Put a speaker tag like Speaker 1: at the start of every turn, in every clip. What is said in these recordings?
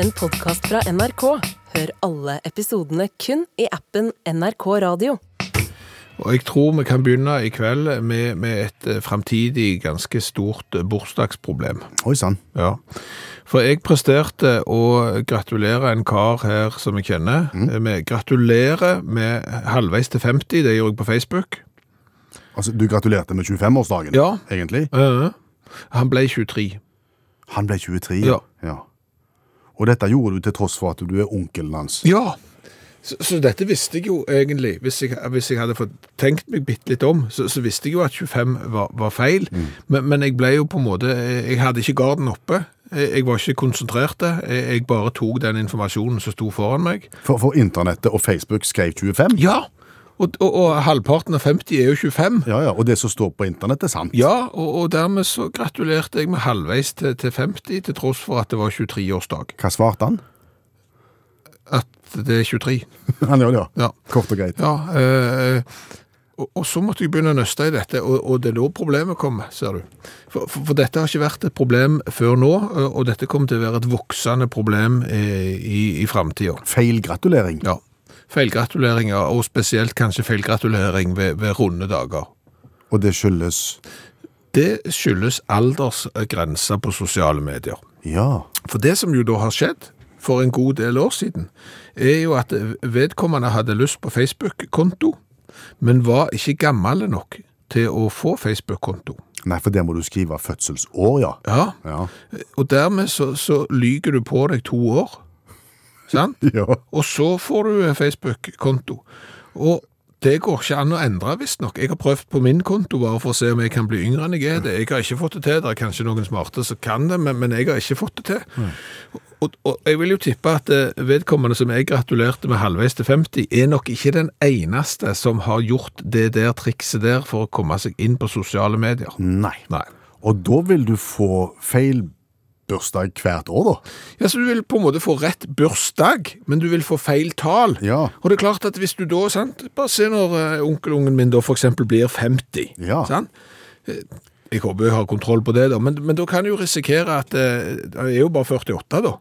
Speaker 1: en podkast fra NRK. Hør alle episodene kun i appen NRK Radio.
Speaker 2: Og jeg tror vi kan begynne i kveld med, med et eh, fremtidig ganske stort eh, bursdagsproblem.
Speaker 3: Oi sann.
Speaker 2: Ja. For jeg presterte å gratulere en kar her som jeg kjenner. Eh, Med, gratulerer med halvveis til 50, det gjorde jeg på Facebook.
Speaker 3: Altså, du gratulerte med 25-årsdagen,
Speaker 2: Ja.
Speaker 3: egentlig.
Speaker 2: Eh, han ble 23.
Speaker 3: Han ble 23.
Speaker 2: Ja.
Speaker 3: Og dette gjorde du til tross for at du er onkelen hans.
Speaker 2: Ja! Så, så dette visste jeg jo egentlig, hvis jeg, hvis jeg hadde fått tenkt meg bitte litt om, så, så visste jeg jo at 25 var, var feil, men, men jeg ble jo på en måte, jeg hadde ikke garden oppe, jeg jeg var ikke konsentrert, jeg jeg bare tok den informasjonen som sto foran meg.
Speaker 3: For, for internettet og Facebook skrev 25.
Speaker 2: Ja! Og, og, og halvparten av 50 er jo 25.
Speaker 3: Ja, ja, Og det som står på internett, er sant.
Speaker 2: Ja, og, og dermed så gratulerte jeg med halvveis til, til 50, til tross for at det var 23-årsdag.
Speaker 3: Hva svarte han?
Speaker 2: At det er 23.
Speaker 3: Han gjør det, ja.
Speaker 2: Ja.
Speaker 3: Kort og greit.
Speaker 2: Ja, eh, og, og så måtte jeg begynne å nøste i dette, og, og det er da problemet kom, ser du. For, for, for dette har ikke vært et problem før nå, eh, og dette kommer til å være et voksende problem eh, i, i fremtiden.
Speaker 3: Feil gratulering.
Speaker 2: Ja, feilgratuleringer, og spesielt kanskje feilgratulering ved, ved runde dager.
Speaker 3: Og det skyldes
Speaker 2: Det skyldes aldersgrenser på sosiale medier.
Speaker 3: Ja.
Speaker 2: For det som jo da har skjedd for en god del år siden, er jo at vedkommende hadde lyst på Facebook-konto, men var ikke gammel nok til å få Facebook-konto.
Speaker 3: Nei, for der må du skrive fødselsår, ja.
Speaker 2: Ja,
Speaker 3: Ja.
Speaker 2: og dermed så, så lyger du på deg to år, sant?
Speaker 3: ja.
Speaker 2: Og så får du Facebook-konto. Og det går ikke an å endre, visstnok. Jeg har prøvd på min konto bare for å se om jeg kan bli yngre enn jeg er. Det. Jeg har ikke fått det til. Det er kanskje noen smarte som kan det, men, men jeg har ikke fått det til. Og, og jeg vil jo tippe at eh, vedkommende som jeg gratulerte med halvveis til 50, er nok ikke den eneste som har gjort det der trikset der for å komme seg inn på sosiale medier.
Speaker 3: Nei.
Speaker 2: Nei.
Speaker 3: Og da vil du få feil bursdag hvert år, da.
Speaker 2: Ja, så Du vil på en måte få rett bursdag, men du vil få feil tall.
Speaker 3: Ja.
Speaker 2: Og det er klart at hvis du da sant, Bare se når eh, onkelungen min da f.eks. blir 50.
Speaker 3: Ja.
Speaker 2: Sant? Eh, Jeg håper jeg har kontroll på det, da, men, men da kan jeg jo risikere at eh, Han er jo bare 48, da.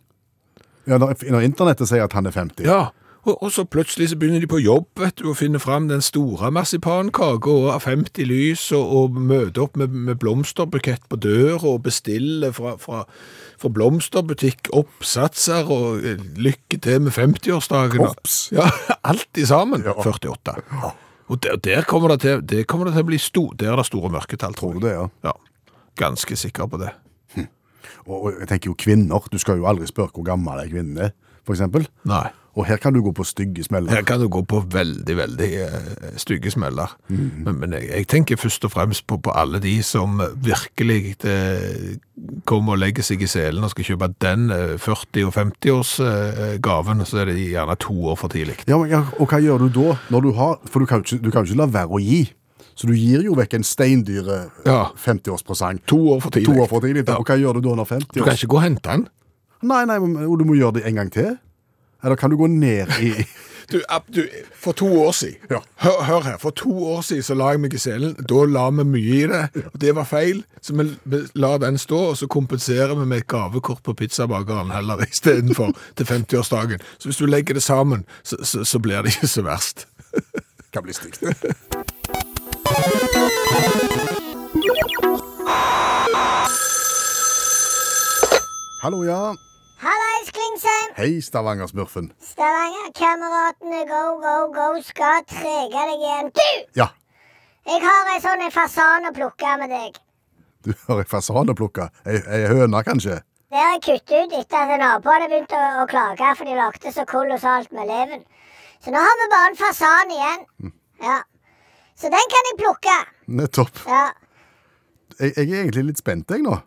Speaker 3: Ja, når, når internettet sier at han er 50.
Speaker 2: Ja. Og, og så plutselig så begynner de på jobb vet du, og finner fram den store marsipankaka og 50 lys og, og møter opp med, med blomsterbukett på døra og bestiller fra, fra, fra blomsterbutikk oppsatser og eh, lykke til med 50-årsdagen.
Speaker 3: Korps.
Speaker 2: Ja, alt i sammen.
Speaker 3: Ja.
Speaker 2: 48. Og der, der, kommer det til, der kommer det til å bli stor, der er det store mørketall, tror jeg.
Speaker 3: Tror du det, ja?
Speaker 2: Ja, ganske sikker på det.
Speaker 3: Og, og jeg tenker jo kvinner, du skal jo aldri spørre hvor gammel en kvinne er, for eksempel.
Speaker 2: Nei.
Speaker 3: Og her kan du gå på stygge
Speaker 2: Her
Speaker 3: smeller.
Speaker 2: kan du gå på veldig, veldig eh, stygge smeller. Men, men jeg, jeg tenker først og fremst på, på alle de som virkelig eh, kommer og legger seg i selen og skal kjøpe den eh, 40- og 50-årsgaven, så er det gjerne to år for tidlig.
Speaker 3: Ja, men, ja, og hva gjør du da? Når du har, for du kan, jo ikke, du kan jo ikke la være å gi. Så du gir jo vekk en steindyre
Speaker 2: Ja.
Speaker 3: 50-årspresang.
Speaker 2: To år for tidlig.
Speaker 3: To år for tidlig. Og hva gjør du da når 50
Speaker 2: Du
Speaker 3: år?
Speaker 2: kan ikke gå og hente den.
Speaker 3: Nei, nei, men og du må gjøre det en gang til. Eller kan du gå ned i
Speaker 2: Du, Ab, du, for to år siden,
Speaker 3: Ja.
Speaker 2: hør, hør her, for to år siden så la jeg meg i selen, da la vi mye i det, og det var feil, så vi vi la den stå, og så kompenserer vi med et gavekort på pizzabakeren heller i stedet for til 50-årsdagen. Så hvis du legger det sammen, så, så, så blir det ikke så verst.
Speaker 3: Kan bli stygt. Hallo, ja.
Speaker 4: Hallais, Klingsheim!
Speaker 3: Hei, Stavanger-smurfen.
Speaker 4: Stavangerkameratene go, go, go skal trege deg igjen. Du!
Speaker 3: Ja,
Speaker 4: Jeg har ei sånn en fasan å plukke med deg.
Speaker 3: du har ei fasan å plukke. Ei, ei høne, kanskje?
Speaker 4: Det har jeg kuttet ut etter at naboene begynte å, å klage, for de lagde så kolossalt med leven. Så nå har vi bare en fasan igjen. Ja. Så den kan jeg plukke.
Speaker 3: Nettopp.
Speaker 4: Ja.
Speaker 3: Jeg, jeg er egentlig litt spent, jeg, nå.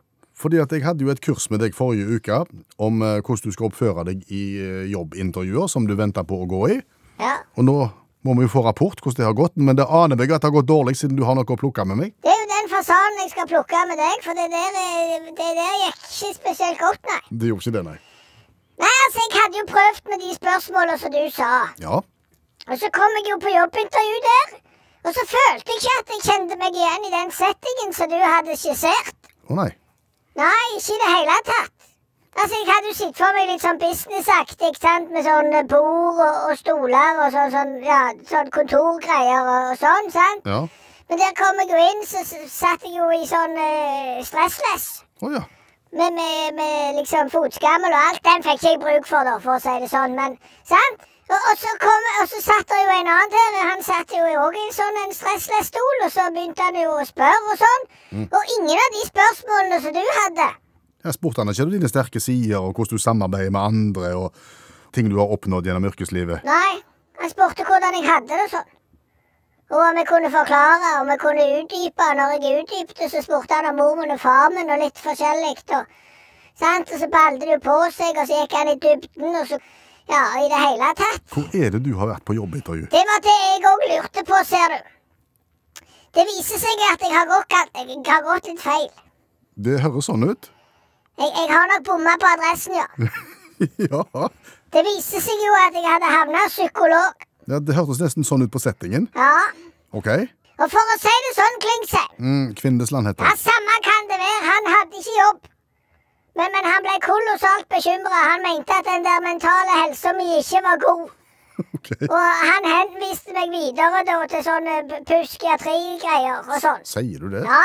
Speaker 3: Fordi at jeg hadde jo et kurs med deg forrige uke om eh, hvordan du skal oppføre deg i eh, jobbintervjuer som du venter på å gå i.
Speaker 4: ja.
Speaker 3: Og nå må vi jo få rapport hvordan det har gått, men det aner meg at det har gått dårlig siden du har noe å plukke med meg.
Speaker 4: Det er jo den fasanen jeg skal plukke med deg, for det der, eh, det der gikk ikke spesielt godt, nei.
Speaker 3: Det gjorde ikke det, nei.
Speaker 4: Nei, altså, jeg hadde jo prøvd med de spørsmåla som du sa.
Speaker 3: Ja.
Speaker 4: Og så kom jeg jo på jobbintervju der. Og så følte jeg ikke at jeg kjente meg igjen i den settingen som du hadde skissert.
Speaker 3: Å nei.
Speaker 4: Nei, ikke i det hele tatt. Altså, Jeg hadde jo sett for meg litt sånn businessaktig, ikke sant, med sånn eh, bord og, og stoler og sånn, sånn, ja, sånn kontorgreier og, og sånn, sant.
Speaker 3: Ja.
Speaker 4: Men der kom jeg jo inn, så, så satt jeg jo i sånn eh, stressless.
Speaker 3: Å ja.
Speaker 4: Med, med, med liksom fotskammel og alt. Den fikk ikke jeg bruk for, da, for å si det sånn. Men, sant? Og, og, så kom, og så satt det jo en annen der. Han satt jo òg i en sånn en stressless stol, og så begynte han jo å spørre og sånn. Og ingen av de spørsmålene som du hadde
Speaker 3: Jeg spurte han ikke om dine sterke sider, og hvordan du samarbeider med andre, og ting du har oppnådd gjennom yrkeslivet.
Speaker 4: Nei, han spurte hvordan jeg hadde det og sånn. Og om jeg kunne forklare, om jeg kunne utdype. Når jeg utdypte, så spurte han om mor min og far min og litt forskjellig. Og, sant? og så balde det jo på seg, og så gikk han i dybden, og så Ja, i det hele tatt.
Speaker 3: Hvor er det du har vært på jobbintervju?
Speaker 4: Det var det jeg òg lurte på, ser du. Det viser seg at jeg har gått, jeg har gått litt feil.
Speaker 3: Det høres sånn ut.
Speaker 4: Jeg, jeg har nok bomma på adressen, ja.
Speaker 3: ja.
Speaker 4: Det viser seg jo at jeg hadde havna hos psykolog.
Speaker 3: ja. Det hørtes nesten sånn ut på settingen.
Speaker 4: Ja.
Speaker 3: OK.
Speaker 4: Og for å si det sånn, Klingsheim
Speaker 3: Mm, Kvindesland heter
Speaker 4: Ja,
Speaker 3: det.
Speaker 4: samme kan det være. Han hadde ikke jobb. Men, men han ble kolossalt bekymra. Han mente at den der mentale helsa mi ikke var god.
Speaker 3: Ok.
Speaker 4: Og han henviste meg videre da til sånne p- puskiatrigreier og sånn.
Speaker 3: Sier du det?
Speaker 4: Ja.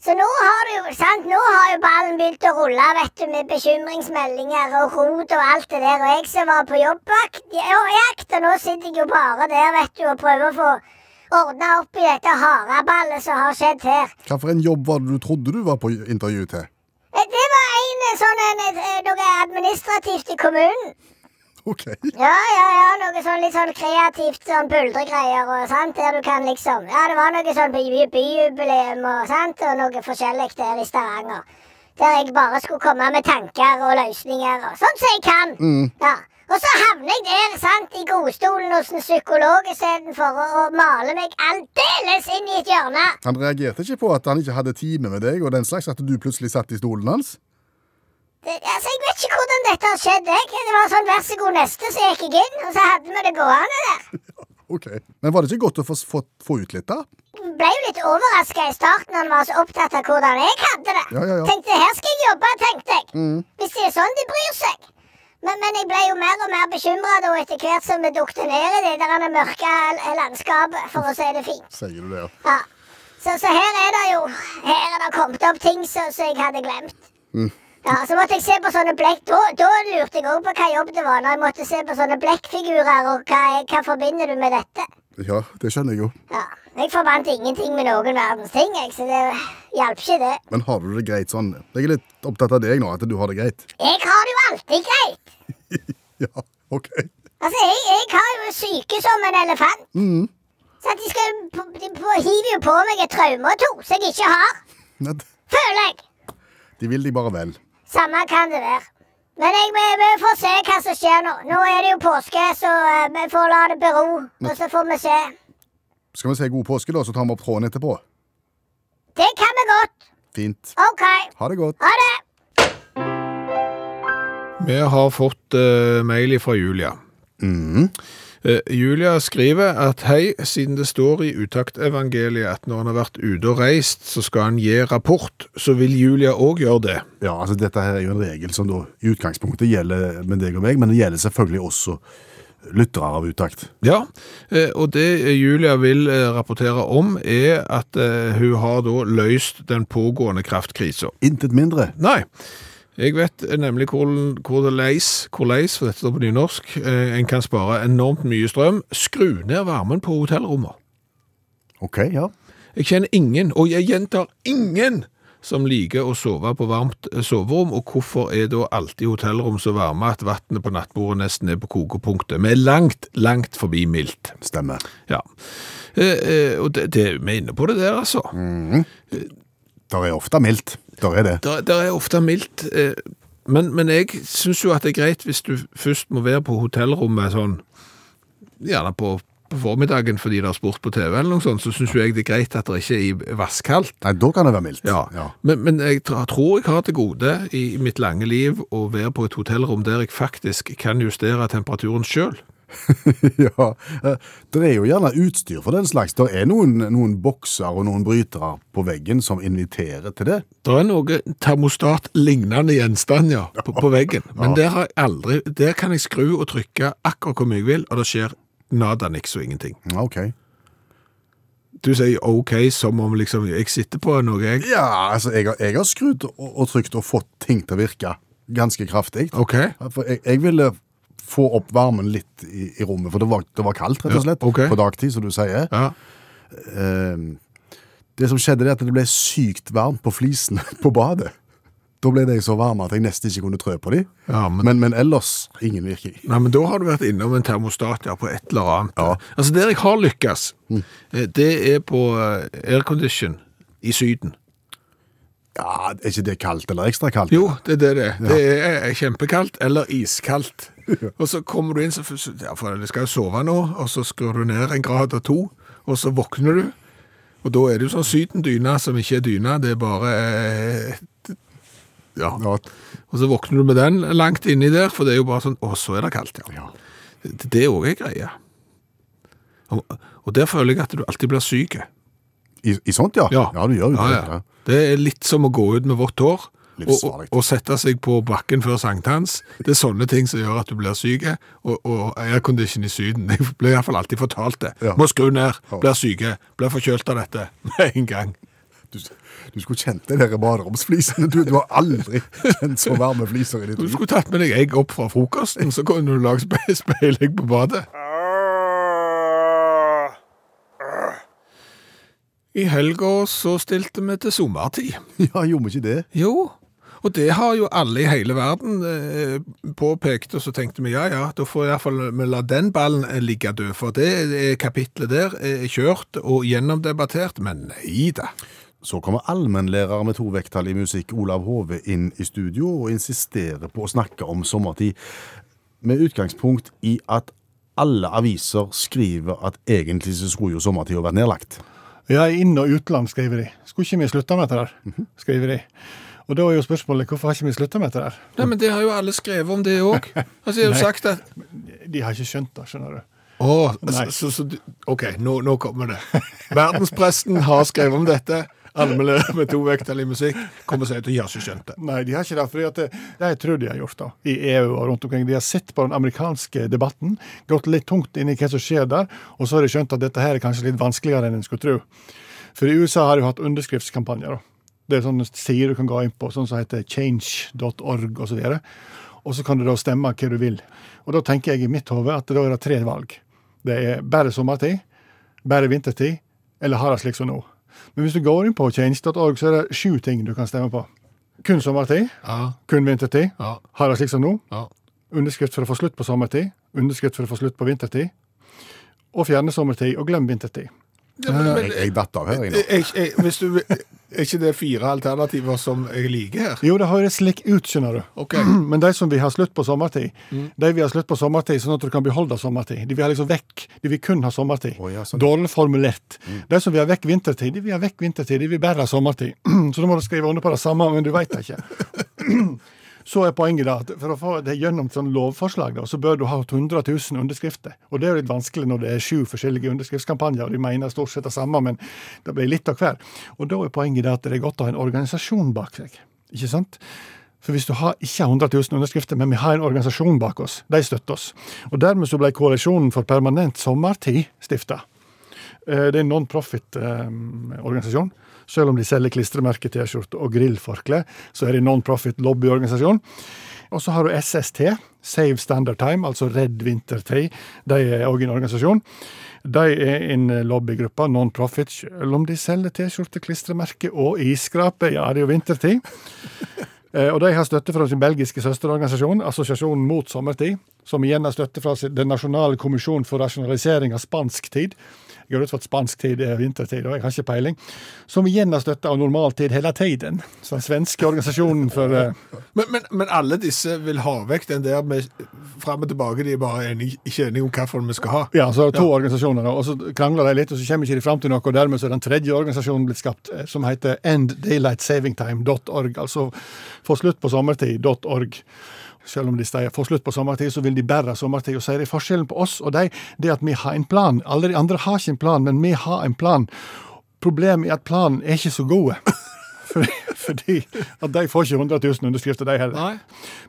Speaker 4: Så nå har du jo, sant, nå har jo ballen begynt å rulle, vet du, med bekymringsmeldinger og rot og alt det der. Og jeg som var på jobbvakt, ja, og jakt, og nå sitter jeg jo bare der, vet du, og prøver å få ordna opp i dette haraballet som har skjedd her.
Speaker 3: Hvilken jobb var det du trodde du var på intervju til?
Speaker 4: Eh, Det var en eh, sånn en, et, eh, noe administrativt i kommunen.
Speaker 3: OK.
Speaker 4: Ja, ja, ja, noe sånn litt sånn kreativt sånn buldregreier og sant, der du kan liksom Ja, det var noe sånn by, byjubileum og sant, og noe forskjellig der i Stavanger. Der jeg bare skulle komme med tanker og løsninger og sånn som jeg kan. Ja. Og så havner jeg der, sant, i godstolen hos en psykolog istedenfor å, å male meg aldeles inn i et hjørne.
Speaker 3: Han reagerte ikke på at han ikke hadde time med deg og den slags, at du plutselig satt i stolen hans?
Speaker 4: det, altså, Jeg vet ikke hvordan dette har skjedd. Jeg. Det var sånn 'vær så god, neste', så gikk jeg inn. Og så hadde vi det gående der.
Speaker 3: OK. Men var det ikke godt å få, få, få ut litt, da?
Speaker 4: Ble jo litt overraska i starten når han var så opptatt av hvordan jeg hadde det.
Speaker 3: Ja, Mm. ja, ja.
Speaker 4: Tenkte 'her skal jeg jobbe', tenkte jeg. Hvis det er sånn de bryr seg. Men, men jeg ble jo mer og mer bekymra etter hvert som vi dukte ned i det der ene mørke l- landskapet, for å si det fint.
Speaker 3: Sier du det, ja.
Speaker 4: Ja. Så, så her er det jo Her er det kommet opp ting som som jeg hadde glemt.
Speaker 3: Mm.
Speaker 4: Ja, Så måtte jeg se på sånne blekk Da, da lurte jeg òg på hva jobb det var, når jeg måtte se på sånne blekkfigurer, og hva, hva forbinder du med dette?
Speaker 3: Ja, det skjønner jeg jo.
Speaker 4: Ja, Jeg forbandt ingenting med noen verdens ting, jeg, så det hjalp ikke, det.
Speaker 3: Men har du det greit sånn? Jeg er litt opptatt av deg nå, at du har det greit.
Speaker 4: Jeg har det jo alltid greit.
Speaker 3: Ja, OK.
Speaker 4: Altså, Jeg, jeg har jo syke som en elefant. Så at de, skal, jo på- de på, hiver jo på meg et traume og to som jeg ikke har,
Speaker 3: Nei, d-
Speaker 4: føler jeg.
Speaker 3: De vil deg bare vel.
Speaker 4: Samme kan det være. Men jeg, vi, vi får se hva som skjer nå. Nå er det jo påske, så eh, vi får la det bero. Og så får vi se.
Speaker 3: Skal vi si god påske, da, så tar vi opp tråden etterpå?
Speaker 4: Det kan vi godt.
Speaker 3: Fint.
Speaker 4: OK.
Speaker 3: Ha det godt.
Speaker 4: Ha det.
Speaker 2: Vi har fått eh, mail fra Julia. Eh, Julia skriver at hei, siden det står i utaktevangeliet at når han har vært ute og reist, så skal han gi rapport, så vil Julia òg gjøre det.
Speaker 3: Ja, altså Dette her er jo en regel som da i utgangspunktet gjelder med deg og meg, men det gjelder selvfølgelig også lyttere av utakt.
Speaker 2: Ja, eh, og det Julia vil eh, rapportere om, er at eh, hun har da løst den pågående kraftkrisa.
Speaker 3: Intet mindre.
Speaker 2: Nei. Jeg vet eh, nemlig hvordan- hvorleis, hvorleis, for dette står på nynorsk, eh, en kan spare enormt mye strøm. Skru ned varmen på hotellrommet.
Speaker 3: OK, ja.
Speaker 2: Jeg kjenner ingen, og jeg gjentar ingen, som liker å sove på varmt eh, soverom, og hvorfor er da alltid hotellrom så varme at vannet på nattbordet nesten er på kokepunktet? Vi er langt, langt forbi mildt.
Speaker 3: Stemmer.
Speaker 2: Ja. Eh, eh, og det, det, vi er inne på det der, altså.
Speaker 3: Der er ofte mildt. Der er det.
Speaker 2: Der, der er ofte mildt. Eh, men, men jeg syns jo at det er greit hvis du først må være på hotellrommet sånn Gjerne på, på formiddagen fordi det er sport på TV, eller noe sånt, så syns jo jeg det er greit at det ikke er i vasskaldt.
Speaker 3: Nei, da kan det være mildt.
Speaker 2: Ja. Men, men jeg tra- tror jeg har til gode i mitt lange liv å være på et hotellrom der jeg faktisk kan justere temperaturen sjøl.
Speaker 3: ja, eh, det er jo gjerne utstyr for den slags. Det er noen, noen bokser og noen brytere på veggen som inviterer til det.
Speaker 2: Det er noe termostatlignende gjenstand, ja, på, på veggen. Men der har jeg aldri Der kan jeg skru og trykke akkurat hvor mye jeg vil, og det skjer nada niks og ingenting.
Speaker 3: Ja, ok.
Speaker 2: Du sier OK som om liksom jeg sitter på noe, jeg.
Speaker 3: Ja, altså, jeg har, jeg har skrudd og, og trykt og fått ting til å virke ganske kraftig.
Speaker 2: OK.
Speaker 3: For jeg, jeg ville få opp varmen litt i, i rommet, for det var, det var kaldt, rett og
Speaker 2: Ja,
Speaker 3: slett,
Speaker 2: ok.
Speaker 3: på dagtid, som du sier.
Speaker 2: Ja.
Speaker 3: Ehm, det som skjedde, det er at det ble sykt varmt på flisene på badet. Da ble de så varme at jeg nesten ikke kunne trø på dem.
Speaker 2: Ja, men-
Speaker 3: men, ellers ingen virkning.
Speaker 2: Nei, men da har du vært innom en termostat ja, på et eller annet. Altså, der jeg har lykkes, eh, det er på eh, aircondition i Syden.
Speaker 3: Ja, Er ikke det kaldt eller ekstra kaldt?
Speaker 2: Jo, det er det det er. Det er eh, kjempekaldt eller iskaldt. Og så kommer du inn, så, ja, for du skal jo sove nå, og så skrur du ned en grad og to, og så våkner du. Og da er det jo sånn sydendyne som ikke er dyne, det er bare eh, et- Ja.
Speaker 3: Ja,
Speaker 2: Og så våkner du med den langt inni der, for det er jo bare sånn Å, så er det kaldt, ja.
Speaker 3: ja.
Speaker 2: Det det er òg ei greie. Og, og der føler jeg at du alltid blir syk.
Speaker 3: I, I sånt, ja?
Speaker 2: Ja.
Speaker 3: du gjør jo
Speaker 2: Ja,
Speaker 3: det.
Speaker 2: ja. Det er litt som å gå ut med vått hår og, og,
Speaker 3: Livsfarlig.
Speaker 2: og sette seg på bakken før sankthans. Det er sånne ting som gjør at du blir syk. Og, og aircondition i Syden Jeg ble iallfall alltid fortalt det.
Speaker 3: Ja.
Speaker 2: Må skru ned,
Speaker 3: Ja.
Speaker 2: blir syke, blir forkjølt av dette med en gang.
Speaker 3: Du, du skulle kjent de der baderomsflisene. Du, du har aldri kjent så varme fliser i ditt
Speaker 2: Du
Speaker 3: liv.
Speaker 2: skulle tatt med deg egg opp fra frokosten, så kunne du lage spe- speilegg på badet. I helga så stilte vi til sommertid.
Speaker 3: Ja, gjorde vi ikke det?
Speaker 2: Jo, og det har jo alle i hele verden eh, påpekt, og så tenkte vi ja, ja, da får i hvert fall vi la den ballen eh, ligge død, for det eh, kapitlet der er kjørt og gjennomdebattert, men nei da.
Speaker 3: Så kommer allmennlærer med to vekttall i musikk, Olav Hove, inn i studio og insisterer på å snakke om sommertid, med utgangspunkt i at alle aviser skriver at egentlig så skulle jo sommertida vært nedlagt.
Speaker 5: Ja, inn- og utland, skriver de. Skulle ikke vi slutta med dette der, skriver de. Og da er jo spørsmålet hvorfor har ikke vi slutta med dette der?
Speaker 2: Nei, men det har jo alle skrevet om det òg. Altså, jeg har jo sagt at
Speaker 5: De har ikke skjønt det, skjønner du.
Speaker 2: Å,
Speaker 5: Nei.
Speaker 2: så, så, så, du- OK, nå, nå kommer det. Verdenspresten har skrevet om dette. Allmennlærer med to vekttall i musikk kommer og sier at de har ikke skjønt det.
Speaker 5: Nei, de har ikke det. fordi at det, jeg tror de har gjort det, i EU og rundt omkring. De har sett på den amerikanske debatten, gått litt tungt inn i hva som skjer der, og så har de skjønt at dette her er kanskje litt vanskeligere enn en skulle tro. For i USA har de jo hatt underskriftskampanjer. da. Det er sånne sider du kan gå inn på, sånn som heter change.org osv. Og, så videre. og så kan du da stemme hva du vil. Og da tenker jeg i mitt hode at da er det tre valg. Det er bare sommertid, bare vintertid, eller ha det slik som nå. Men hvis du går inn på change.org, så er det sju ting du kan stemme på. Kun sommertid,
Speaker 2: Ja,
Speaker 5: kun vintertid.
Speaker 2: ja,
Speaker 5: Ha det slik som nå.
Speaker 2: ja.
Speaker 5: Underskrift for å få slutt på sommertid. Underskrift for å få slutt på vintertid. Og fjerne sommertid, og glem vintertid.
Speaker 2: Ja, men, men,
Speaker 3: Jeg, jeg datt av her, jeg nå.
Speaker 2: Er ikke- er- hvis du, er ikke det fire alternativer som jeg liker her?
Speaker 5: Jo, det høres slik ut, skjønner du.
Speaker 2: Ok.
Speaker 5: Men de som vil ha slutt på sommertid,
Speaker 3: Mm.
Speaker 5: de vil ha slutt på sommertid sånn at du kan beholde sommertid. De vil ha liksom vekk. De vil kun ha sommertid.
Speaker 3: Å, ja, sånn. Mm.
Speaker 5: Dårlig formulert. De som vil ha vekk vintertid, de vil ha vekk vintertid. De vil bare ha sommertid. Så da må du skrive under på det samme, men du veit det ikke. Så er poenget da, at for å få det gjennom til sånn lovforslag, da, så bør du ha 100 000 underskrifter. Og det er jo litt vanskelig når det er sju forskjellige underskriftskampanjer, og de mener stort sett det samme, men det blir litt av hver. Og da er poenget da at det er godt å ha en organisasjon bak seg. Ikke sant? For hvis du har ikke har 100 000 underskrifter, men vi har en organisasjon bak oss, de støtter oss. Og dermed så ble Koalisjonen for permanent sommertid stifta. Eh, Det er en non-profit-organisasjon. Selv om de selger klistremerke, T-skjorte og grillforkle, så er de en non-profit lobbyorganisasjon. Og så har du SST, Save Standard Time, altså Redd Vintertid. De er òg en organisasjon. De er en lobbygruppe, non-profit, selv om de selger T-skjorte, klistremerke og isskrape. Ja, det er jo vintertid. Eh, Og de har støtte fra sin belgiske søsterorganisasjon, Assosiasjonen mot sommertid, som igjen har støtte fra sin- Den nasjonale kommisjonen for rasjonalisering av spansk tid. Jeg går ut fra at spansk tid er vintertid, og jeg har ikke peiling. Som igjen har støtte av normaltid hele tiden. Så den svenske organisasjonen for eh,
Speaker 2: Men, men, men alle disse vil ha vekk den der med fram og tilbake, de er bare enige, ikke enige om hvilken vi skal ha.
Speaker 5: Ja, så er det to organisasjoner, da, og så krangler de litt, og så kommer ikke de fram til noe, og dermed så er den tredje organisasjonen blitt skapt, eh, som heter enddaylightsavingtime.org, altså få slutt på sommertid.org. Selv om de sier få slutt på sommertid, så vil de bare ha sommertid. Og så er det forskjellen på oss og de, det er at vi har en plan. Alle de andre har ikke en plan, men vi har en plan. Problemet er at planen er ikke så god. Fordi, fordi at de får ikke 100 000 underskrifter, de heller.
Speaker 2: Nei.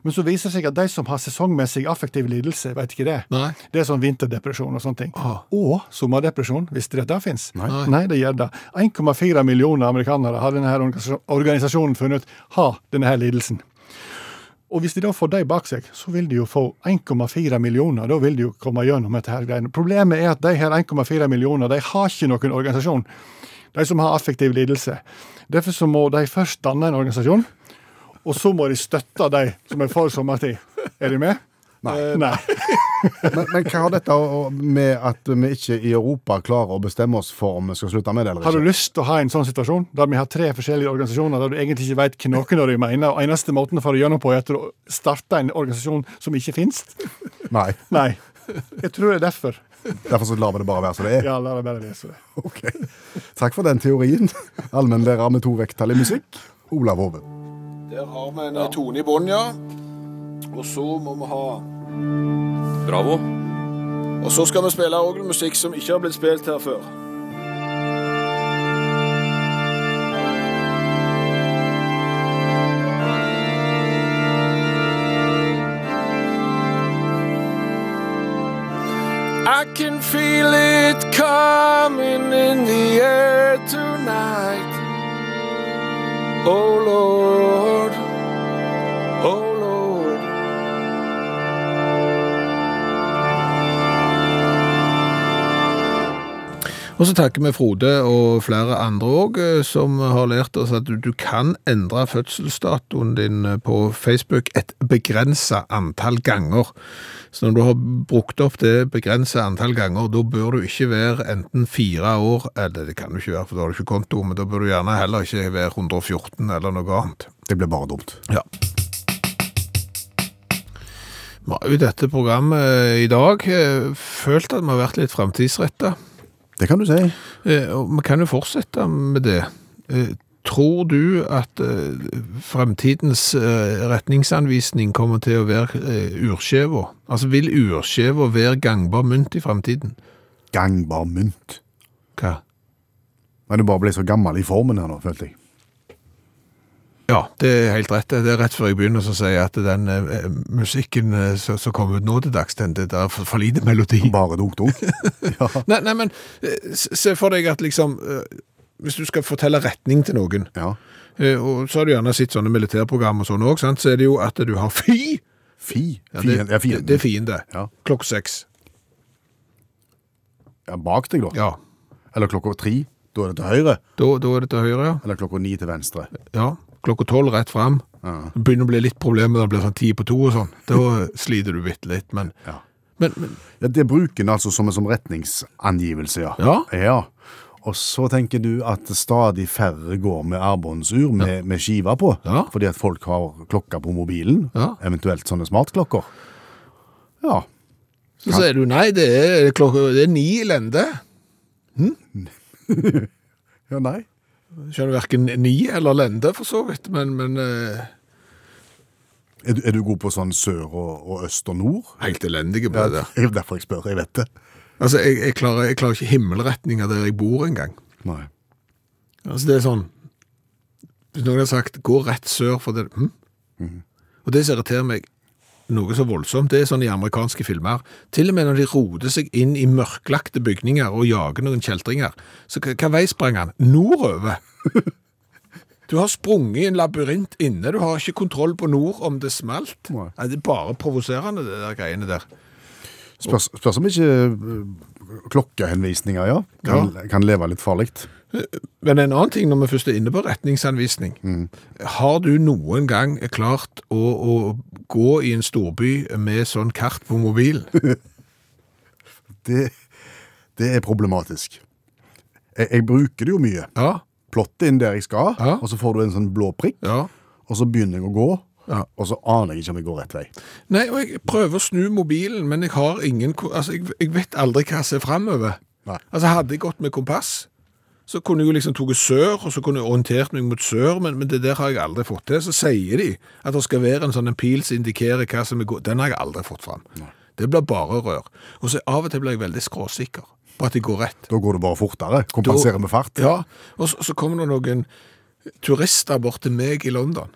Speaker 5: Men så viser det seg at de som har sesongmessig affektiv lidelse, vet ikke det.
Speaker 2: Nei. Ah.
Speaker 5: Det er sånn vinterdepresjon og sånne ting. Og sommerdepresjon, hvis det da fins. Nei. det gjør det. 1,4 millioner amerikanere har denne her organisa- organisasjonen funnet har denne her lidelsen. Og hvis de da får de bak seg, så vil de jo få 1,4 millioner. Da vil de jo komme gjennom dette her greiene. Problemet er at de her 1,4 millioner, de har ikke noen organisasjon. De som har affektiv lidelse. Derfor så må de først danne en organisasjon, og så må de støtte de som er for sommertid. Er de med? Nei. Nei.
Speaker 3: Men, men hva har dette å- å- med at vi ikke i Europa klarer å bestemme oss for om vi skal slutte med det eller
Speaker 5: Har du
Speaker 3: ikke?
Speaker 5: lyst til å ha en sånn situasjon, der vi har tre forskjellige organisasjoner der du egentlig ikke vet hva noen av de mener, og eneste måten å få det gjennom på er at du starter en organisasjon som ikke finnes?
Speaker 3: Nei.
Speaker 5: Nei. Jeg tror det er derfor.
Speaker 3: Derfor så lar vi det bare være som det er.
Speaker 5: Ja, la det bare være sånn.
Speaker 3: Ok. Takk for den teorien. Allmennlærer med to vekttall i musikk, Olav Hove.
Speaker 2: Der har vi en tone i bånn, ja. Og så må vi ha
Speaker 6: Bravo.
Speaker 2: Og så skal vi spille orgelmusikk som ikke har blitt spilt her før. I can feel it coming in the air tonight. Oh Lord, oh Lord. Og så takker vi Frode og flere andre òg, som har lært oss at du, du kan endre fødselsdatoen din eh, på Facebook et begrensa antall ganger. Så når du har brukt opp det begrensa antall ganger, da bør du ikke være enten fire år Eller det kan du ikke være, for da har du ikke konto, men da bør du gjerne heller ikke være 114 eller noe annet.
Speaker 3: Det ble bare dumt.
Speaker 2: Ja. Vi har jo i dette programmet eh, i dag eh, følt at vi har vært litt framtidsretta.
Speaker 3: Det kan du si.
Speaker 2: Eh, og Vi kan jo fortsette med det. Eh, Tror du at eh, fremtidens eh, retningsanvisning kommer til å være eh, urskjeva? Altså, vil urskjeva være gangbar mynt i fremtiden?
Speaker 3: Gangbar mynt.
Speaker 2: Hva?
Speaker 3: Men du bare ble så gammel i formen her nå, følte jeg.
Speaker 2: Ja, det er helt rett. Det er rett før jeg begynner så sier jeg at den eh, musikken eh, som som kommer ut nå til dags, den det er for, for lite melodi.
Speaker 3: Bare dunk-dunk. ja.
Speaker 2: Nei, nei, men eh, s- se for deg at liksom eh, Hvis du skal fortelle retning til noen,
Speaker 3: ja.
Speaker 2: eh, og så har du gjerne sett sånne militærprogram og sånn òg, så er det jo at du har fy.
Speaker 3: Fi.
Speaker 2: Ja, det,
Speaker 3: Fiend. Ja,
Speaker 2: Det,
Speaker 3: fienden.
Speaker 2: det er fiende.
Speaker 3: Ja.
Speaker 2: Klokk seks.
Speaker 3: Ja, bak deg, da.
Speaker 2: Ja.
Speaker 3: Eller klokka tre. Da er det til høyre.
Speaker 2: Da, da er det til høyre,
Speaker 3: Eller klokka ni til venstre.
Speaker 2: ja. ja. Klokka tolv rett fram.
Speaker 3: Ja.
Speaker 2: Det Begynner å bli litt problemer når det blir sånn ti på to og sånn. Da sliter du bitte litt, men
Speaker 3: Ja.
Speaker 2: Men, men
Speaker 3: Ja, det bruker en altså som en som retningsangivelse, ja.
Speaker 2: Ja.
Speaker 3: Og så tenker du at stadig færre går med armbåndsur med, med skiva på,
Speaker 2: Ja.
Speaker 3: fordi at folk har klokka på mobilen,
Speaker 2: Ja.
Speaker 3: eventuelt sånne smartklokker. Ja,
Speaker 2: så sier du nei, det er klokka Det er ni i lende.
Speaker 3: ja nei.
Speaker 2: Skjønner verken ni eller lende, for så vidt, men, men eh,
Speaker 3: Er du, er du god på sånn sør og, og øst og nord?
Speaker 2: Helt elendige på det
Speaker 3: det
Speaker 2: der.
Speaker 3: er jo derfor jeg spør, jeg vet det.
Speaker 2: Altså, jeg, jeg, klarer, jeg klarer ikke himmelretninga der jeg bor engang.
Speaker 3: Nei.
Speaker 2: Altså, det er sånn Hvis noen har sagt 'gå rett sør' for det hm? Og det som irriterer meg noe så voldsomt, det er sånn i amerikanske filmer. Til og med når de roter seg inn i mørklagte bygninger og jager noen kjeltringer, så hva hva vei sprang han? Nordover! Du har sprunget i en labyrint inne, du har ikke kontroll på nord om det smalt.
Speaker 3: Nei.
Speaker 2: Nei, Det er bare provoserende, det der greiene der.
Speaker 3: Spørs, spørs om ikke øh, klokkehenvisninger, ja, kan, kan leve litt farligt.
Speaker 2: Men en annen ting når vi først er inne på retningsanvisning. Har du noen gang klart å, å gå i en storby med sånn kart på mobilen?
Speaker 3: Det, det er problematisk. Jeg, jeg bruker det jo mye.
Speaker 2: Ja,
Speaker 3: plotte inn der jeg skal,
Speaker 2: Ja.
Speaker 3: og så får du en sånn blå prikk,
Speaker 2: ja.
Speaker 3: og så begynner jeg å gå,
Speaker 2: Ja.
Speaker 3: og så aner jeg ikke om jeg går rett vei.
Speaker 2: Nei, og jeg prøver å snu mobilen, men jeg har ingen ko- Altså, jeg, jeg vet aldri hva jeg ser framover.
Speaker 3: Nei.
Speaker 2: Altså, hadde jeg gått med kompass, Så kunne jeg jo liksom tatt sør, og så kunne jeg orientert meg mot sør, men, men det der har jeg aldri fått til. Så sier de at det skal være en sånn en pil som indikerer hva som er god. Den har jeg aldri fått fram. Det blir bare rør. Og så av og til blir jeg veldig skråsikker på at jeg går rett.
Speaker 3: Da går det bare fortere. Kompenserer med fart.
Speaker 2: Ja, og så, så kommer det noen turister bort til meg i London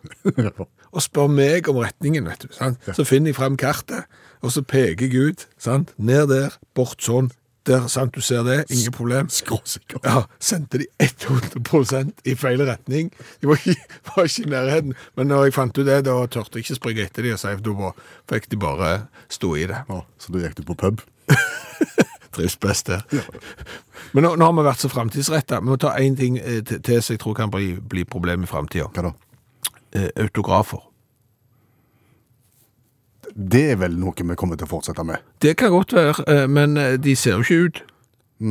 Speaker 2: og spør meg om retningen, vet du. Sant? Så finner jeg frem kartet, og så peker jeg ut, sant? ned der, bort sånn, der, sant? du ser det, ingen problem.
Speaker 3: Skråsikker.
Speaker 2: Ja, sendte de 100 i feil retning. De var ikke, var ikke i nærheten. Men når jeg fant ut det, da tørte jeg ikke springe etter de og si, for da var- fikk de bare stå i det.
Speaker 3: Ja, så da gikk du på pub.
Speaker 2: Trives best der. Men nå, nå har vi vært så fremtidsrettet. Vi må ta en ting eh, til, til som jeg tror kan bli, bli problem i fremtiden.
Speaker 3: Hva da?
Speaker 2: Eh, autografer.
Speaker 3: Det er vel noe vi kommer til å fortsette med.
Speaker 2: Det kan godt være, eh, men eh, de ser jo ikke ut.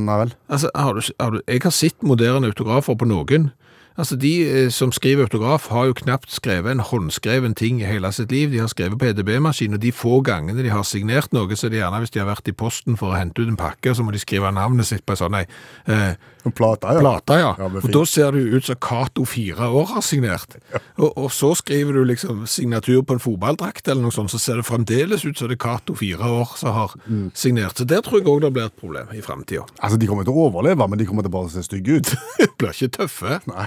Speaker 3: Nei vel.
Speaker 2: Altså, har du, har du, jeg har sett moderne autografer på noen. Altså, De eh, som skriver autograf, har jo knapt skrevet en håndskreven ting i hele sitt liv. De har skrevet på EDB-maskin, og de få gangene de har signert noe, så er det gjerne hvis de har vært i posten for å hente ut en pakke, så må de skrive navnet sitt på en sånn ei eh,
Speaker 3: En plate, ja.
Speaker 2: plate, ja.
Speaker 3: Ja, men
Speaker 2: og
Speaker 3: fint.
Speaker 2: da ser det jo ut som Cato fire år har signert. Og, og så skriver du liksom signatur på en fotballdrakt eller noe sånt, så ser det fremdeles ut som det er Cato fire år som har
Speaker 3: Mm.
Speaker 2: signert. Så der tror jeg òg det blir et problem i framtida.
Speaker 3: Altså, De kommer til å overleve, men de kommer til bare å se stygge ut.
Speaker 2: Blir ikke tøffe.
Speaker 3: Nei.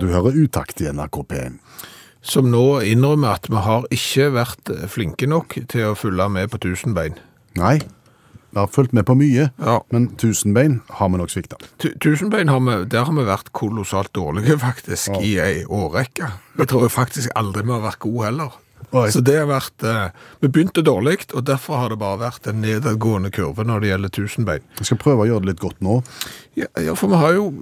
Speaker 3: Du hører utakt i NRK P1.
Speaker 2: Som nå innrømmer at vi har ikke vært eh, flinke nok til å følge med på tusenbein.
Speaker 3: Nei, vi har fulgt med på mye,
Speaker 2: Ja.
Speaker 3: men tusenbein har vi nok svikta.
Speaker 2: Tu- Tusenbein har vi, der har vi vært kolossalt dårlige, faktisk, i ei årrekke. Jeg tror faktisk aldri vi har vært gode heller.
Speaker 3: Oi.
Speaker 2: Så det har vært eh, Vi begynte dårlig, og derfor har det bare vært en nedadgående kurve når det gjelder tusenbein.
Speaker 3: Jeg skal prøve å gjøre det litt godt nå.
Speaker 2: Ja, ja, for vi har jo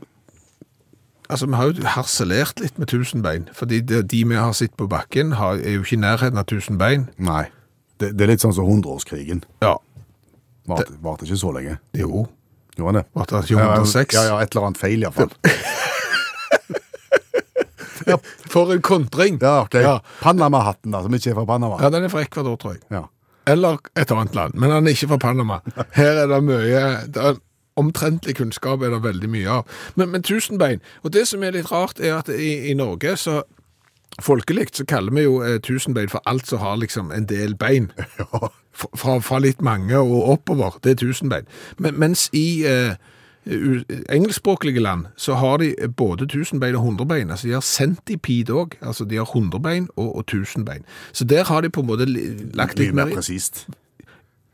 Speaker 2: Altså, Vi har jo harselert litt med tusenbein. Fordi det, de vi har sett på bakken, har, er jo ikke i nærheten av tusenbein.
Speaker 3: Nei, det, det er litt sånn som hundreårskrigen.
Speaker 2: Ja.
Speaker 3: Varte varte ikke så lenge.
Speaker 2: Jo.
Speaker 3: Gjorde han det?
Speaker 2: Varte det ikke 106?
Speaker 3: Ja, ja, et eller annet feil iallfall.
Speaker 2: For en kontring!
Speaker 3: Ja, ok.
Speaker 2: Ja.
Speaker 3: Panama-hatten, da, som ikke er fra Panama.
Speaker 2: Ja, den er fra Ecuador, tror jeg.
Speaker 3: Ja.
Speaker 2: Eller et annet land, men han er ikke fra Panama. Her er det mye det er Omtrentlig kunnskap er det veldig mye av. Men, men tusenbein. Og det som er litt rart, er at i, i Norge så Folkeligt så kaller vi jo eh, tusenbein for alt som har liksom en del bein. Fra, fra- fra litt mange og oppover. Det er tusenbein. Men, mens i eh, u- engelskspråklige land så har de både tusenbein og hundrebein. Altså de har centipede òg. Altså de har hundrebein og, og tusenbein. Så der har de på en måte li- lagt
Speaker 3: Mye
Speaker 2: litt mer
Speaker 3: mer presist.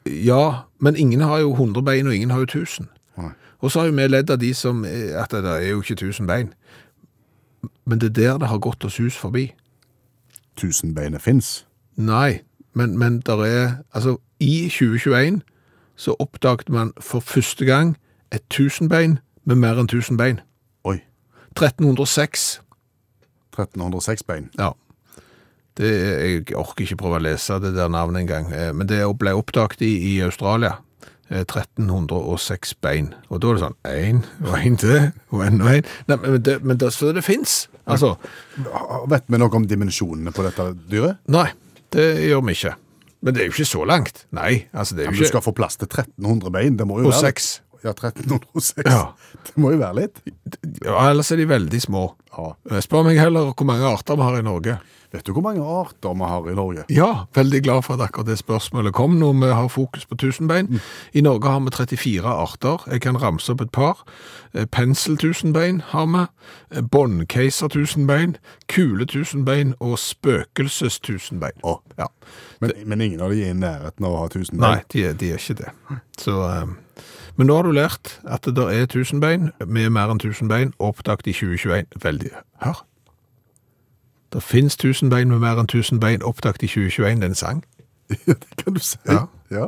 Speaker 2: ja, men ingen har jo 100 bein, og ingen har jo 1000.
Speaker 3: Nei.
Speaker 2: Og så har jo vi ledd av de som eh, at det er jo ikke 1000 bein. Men det er der det har gått oss hus forbi.
Speaker 3: Tusenbeinet fins.
Speaker 2: Nei, men, men der er Altså, i 2021 så oppdaget man for første gang et 1000 bein med mer enn 1000 bein.
Speaker 3: Oi.
Speaker 2: 1306.
Speaker 3: 1306 bein.
Speaker 2: Ja. Det er, jeg orker ikke prøve å lese det der navnet engang, eh, men det ble oppdaget i, i Australia. Eh, 1306 bein. Og da er det sånn én, og én til, og enda én. Nei, Men det, men det, så det fins. Altså,
Speaker 3: Ah, Vet vi noe om dimensjonene på dette dyret?
Speaker 2: nei, det gjør vi ikke. Men det er jo ikke så langt. Nei, altså det er
Speaker 3: Ja,
Speaker 2: jo
Speaker 3: men du
Speaker 2: ikke
Speaker 3: skal få plass til 1300 bein. Det må jo
Speaker 2: Og
Speaker 3: være litt.
Speaker 2: seks.
Speaker 3: Ja, 1306.
Speaker 2: Ja.
Speaker 3: Det må jo være litt.
Speaker 2: ja, Ellers er de veldig små.
Speaker 3: Ja.
Speaker 2: Eh, Spør meg heller hvor mange arter vi har i Norge.
Speaker 3: Vet du hvor mange arter vi har i Norge?
Speaker 2: Ja, veldig glad for at akkurat det spørsmålet kom når vi har fokus på tusenbein. I Norge har vi 34 arter. Jeg kan ramse opp et par. Eh, Penseltusenbein har vi. eh, Båndkeisertusenbein, kuletusenbein og spøkelsestusenbein.
Speaker 3: Å.
Speaker 2: Ja.
Speaker 3: Men, men ingen av de er i nærheten av å ha 1000
Speaker 2: Nei,
Speaker 3: bein.
Speaker 2: de er, de er ikke det. Så, eh, men nå har du lært at det der er tusenbein, med mer enn tusenbein, oppdaget i 2021. Veldig. Hør. Det finnes tusenbein med mer enn tusenbein, oppdaget i 2021. Det er en sang.
Speaker 3: Ja, det kan du si.
Speaker 2: Ja.
Speaker 3: Ja.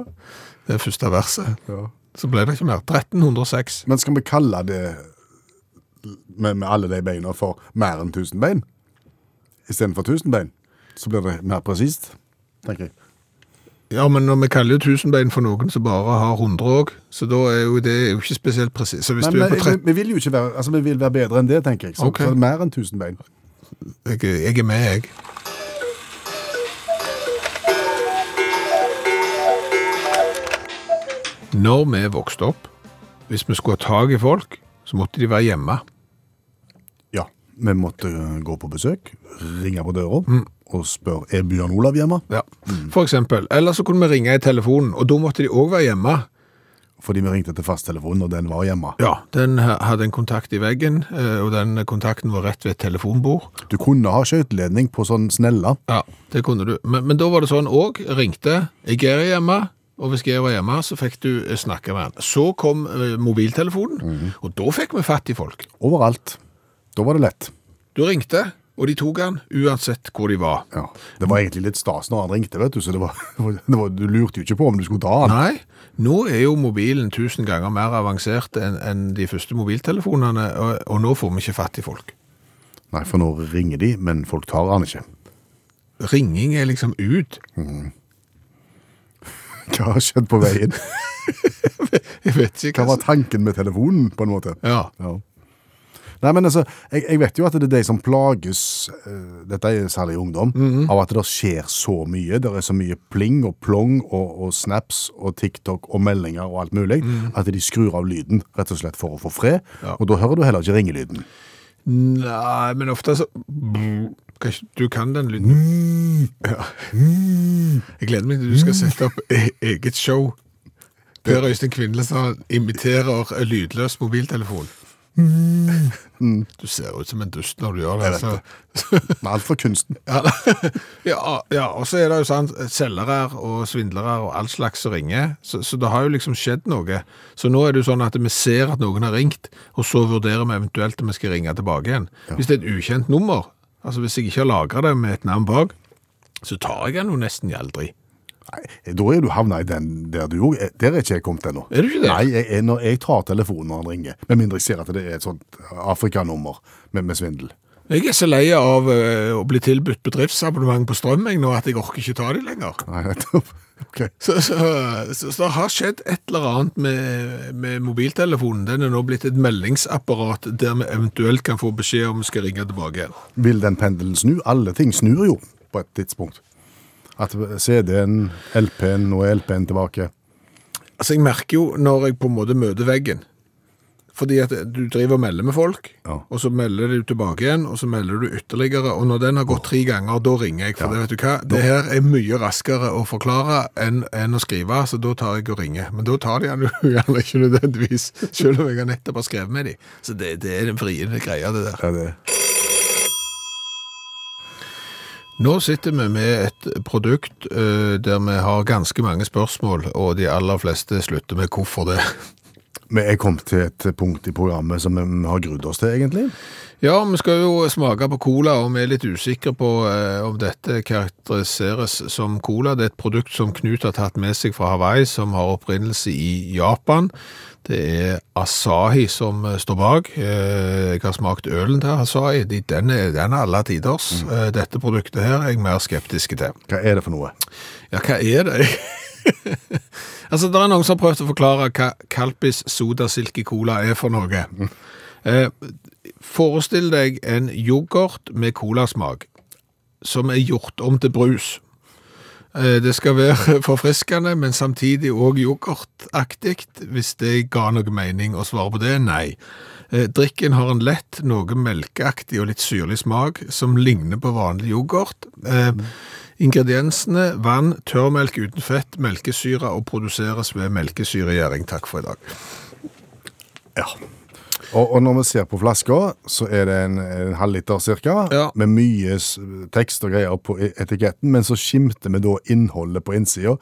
Speaker 2: Det er første verset.
Speaker 3: Ja.
Speaker 2: Så ble det ikke mer. 1306.
Speaker 3: Men skal vi kalle det med, med alle de beina for mer enn 1000 bein? Istedenfor 1000 bein? Så blir det mer presist, tenker jeg.
Speaker 2: Ja, men når vi kaller jo tusenbein for noen som bare har 100 òg, så da er jo det jo ikke spesielt presis. Så hvis
Speaker 3: Men
Speaker 2: du er
Speaker 3: vi,
Speaker 2: på
Speaker 3: vi,
Speaker 2: 13
Speaker 3: vi vil jo ikke være, altså, vi vil være bedre enn det, tenker jeg. Så,
Speaker 2: Ok.
Speaker 3: så mer enn 1000 bein.
Speaker 2: jeg, jeg er med, jeg. Når vi vokste opp, hvis vi skulle ha tak i folk, så måtte de være hjemme.
Speaker 3: Ja, vi måtte eh, gå på besøk, ringe på døra
Speaker 2: Mm.
Speaker 3: og spørre er Bjørn Olav hjemme,
Speaker 2: Ja.
Speaker 3: Mm.
Speaker 2: For eksempel. Eller så kunne vi ringe i telefonen, og da måtte de òg være hjemme.
Speaker 3: fordi vi ringte til fasttelefonen, og den var hjemme.
Speaker 2: Ja, Den ha- hadde en kontakt i veggen, eh, og den kontakten var rett ved et telefonbord.
Speaker 3: Du kunne ha skøyteledning på sånn snella.
Speaker 2: Ja, det kunne du. Men, men da var det sånn òg. Ringte. Jeg er hjemme. Og hvis jeg var hjemme, så fikk du eh, snakke med han. Så kom eh, mobiltelefonen,
Speaker 3: Mhm.
Speaker 2: og da fikk vi fatt i folk.
Speaker 3: Overalt. Da var det lett.
Speaker 2: Du ringte, og de tok han uansett hvor de var.
Speaker 3: Ja. Det var egentlig litt stas når han ringte, vet du, så det var, det var, du lurte jo ikke på om du skulle ta han.
Speaker 2: Nei, nå er jo mobilen tusen ganger mer avansert enn enn de første mobiltelefonene, og, og nå får vi ikke fatt i folk.
Speaker 3: Nei, for nå ringer de, men folk tar han ikke.
Speaker 2: Ringing er liksom ut.
Speaker 3: Hva har skjedd på veien?
Speaker 2: Jeg vet ikke
Speaker 3: Hva
Speaker 2: hva
Speaker 3: var tanken med telefonen, på en måte?
Speaker 2: Ja,
Speaker 3: Ja. Nei, men altså, jeg, jeg vet jo at det er de som plages, eh, dette er særlig ungdom,
Speaker 2: Mhm.
Speaker 3: av at det skjer så mye. Det er så mye pling og plong og, og snaps og TikTok og meldinger og alt mulig,
Speaker 2: Mhm.
Speaker 3: at de skrur av lyden rett og slett for å få fred. Og da hører du heller ikke ringelyden.
Speaker 2: nei, men ofte så Kan ikke- Du kan den lyden. Ja. Jeg gleder meg til du skal sette opp e eget show. Per Øystein Kvindlestad imiterer en lydløs mobiltelefon. Du ser ut som en dust når du gjør det.
Speaker 3: Jeg vet
Speaker 2: så-
Speaker 3: Men alt for kunsten.
Speaker 2: Ja, ja, ja, og så er det jo sånn selgere og svindlere og all slags som ringer, så, så det har jo liksom skjedd noe. Så nå er det jo sånn at vi ser at noen har ringt, og så vurderer vi eventuelt om vi skal ringe tilbake igjen. Hvis det er et ukjent nummer, altså hvis jeg ikke har lagret det med et navn bak, så tar jeg den jo nesten aldri.
Speaker 3: Nei, da er du havnet i den der du gjorde. Eh, Der er ikke jeg kommet ennå.
Speaker 2: Er du ikke det?
Speaker 3: Nei, jeg, jeg, når jeg tar telefonen når han ringer, med mindre jeg ser at det er et sånt Afrikanummer med, med svindel.
Speaker 2: Jeg er så lei av eh, å bli tilbudt bedriftsabonnement på strømming nå at jeg orker ikke ta de lenger.
Speaker 3: Nei, nettopp. Ok.
Speaker 2: Så, så, så, så det har skjedd et eller annet med, med mobiltelefonen. Den er nå blitt et meldingsapparat der vi eventuelt kan få beskjed om vi skal ringe tilbake igjen.
Speaker 3: Vil den pendelen snu? Alle ting snur jo på et tidspunkt. At CD-en, LP-en, nå er LP-en tilbake.
Speaker 2: Altså, jeg merker jo når jeg på en måte møter veggen. Fordi at du driver og melder med folk,
Speaker 3: Ja.
Speaker 2: og så melder du tilbake igjen, og så melder du ytterligere, og når den har gått tre ganger, da ringer jeg, for det vet du hva, det her er mye raskere å forklare enn, enn å skrive, så da tar jeg og ringer. Men da tar de han jo gjerne ikke nødvendigvis, selv om jeg har nettopp har skrevet med de. Så det, det er den friende greia det der.
Speaker 3: Er det
Speaker 2: Nå sitter vi med et produkt eh, der vi har ganske mange spørsmål, og de aller fleste slutter med hvorfor det.
Speaker 3: Men jeg kom til et punkt i programmet som vi har grudd oss til, egentlig.
Speaker 2: Ja, vi skal jo smake på cola, og vi er litt usikre på eh, om dette karakteriseres som cola. Det er et produkt som Knut har tatt med seg fra Hawaii, som har opprinnelse i Japan. Det er Asahi som eh, står bak. Eh, jeg har smakt ølen til Asahi. De- Den er, den er alle tiders. Eh, dette produktet her er jeg mer skeptisk til.
Speaker 3: Hva er det for noe?
Speaker 2: Ja, hva er det? altså, det er noen som har prøvd å forklare hva Kalpis Soda Silke Cola er for noe. Eh, forestill deg en yoghurt med colasmak, som er gjort om til brus. Eh, det skal være forfriskende, men samtidig også yoghurtaktig, hvis det ga noe mening å svare på det, nei. Eh, Drikken har en lett, noe melkeaktig og litt syrlig smak, som ligner på vanlig yoghurt. Eh, Ingrediensene vann, tørrmelk uten fett, melkesyre og produseres ved melkesyregjæring. Takk for i dag.
Speaker 3: Ja. Og, og når vi ser på flaska, så er det en, en halvliter cirka,
Speaker 2: Ja.
Speaker 3: med mye s- tekst og greier på e- etiketten, men så skimter vi da innholdet på innsida,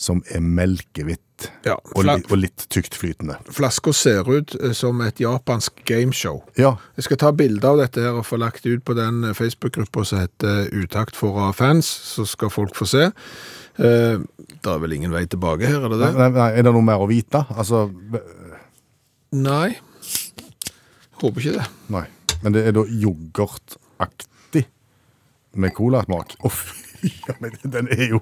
Speaker 3: som er melkehvitt
Speaker 2: Ja,
Speaker 3: og,
Speaker 2: fla-
Speaker 3: li, og litt tykt flytende.
Speaker 2: Flaska ser ut eh, som et japansk gameshow.
Speaker 3: Ja,
Speaker 2: Jeg skal ta bilde av dette her og få lagt det ut på den eh, Facebook-gruppa som heter Utakt for å ha fans, så skal folk få se. Eh, det er vel ingen vei tilbake her, er det det?
Speaker 3: Nei, nei, nei, er det noe mer å vite? Altså,
Speaker 2: Nei. Håper ikke det.
Speaker 3: nei. Men det er da yoghurtaktig med colasmak. Å, fy, ja, men den er jo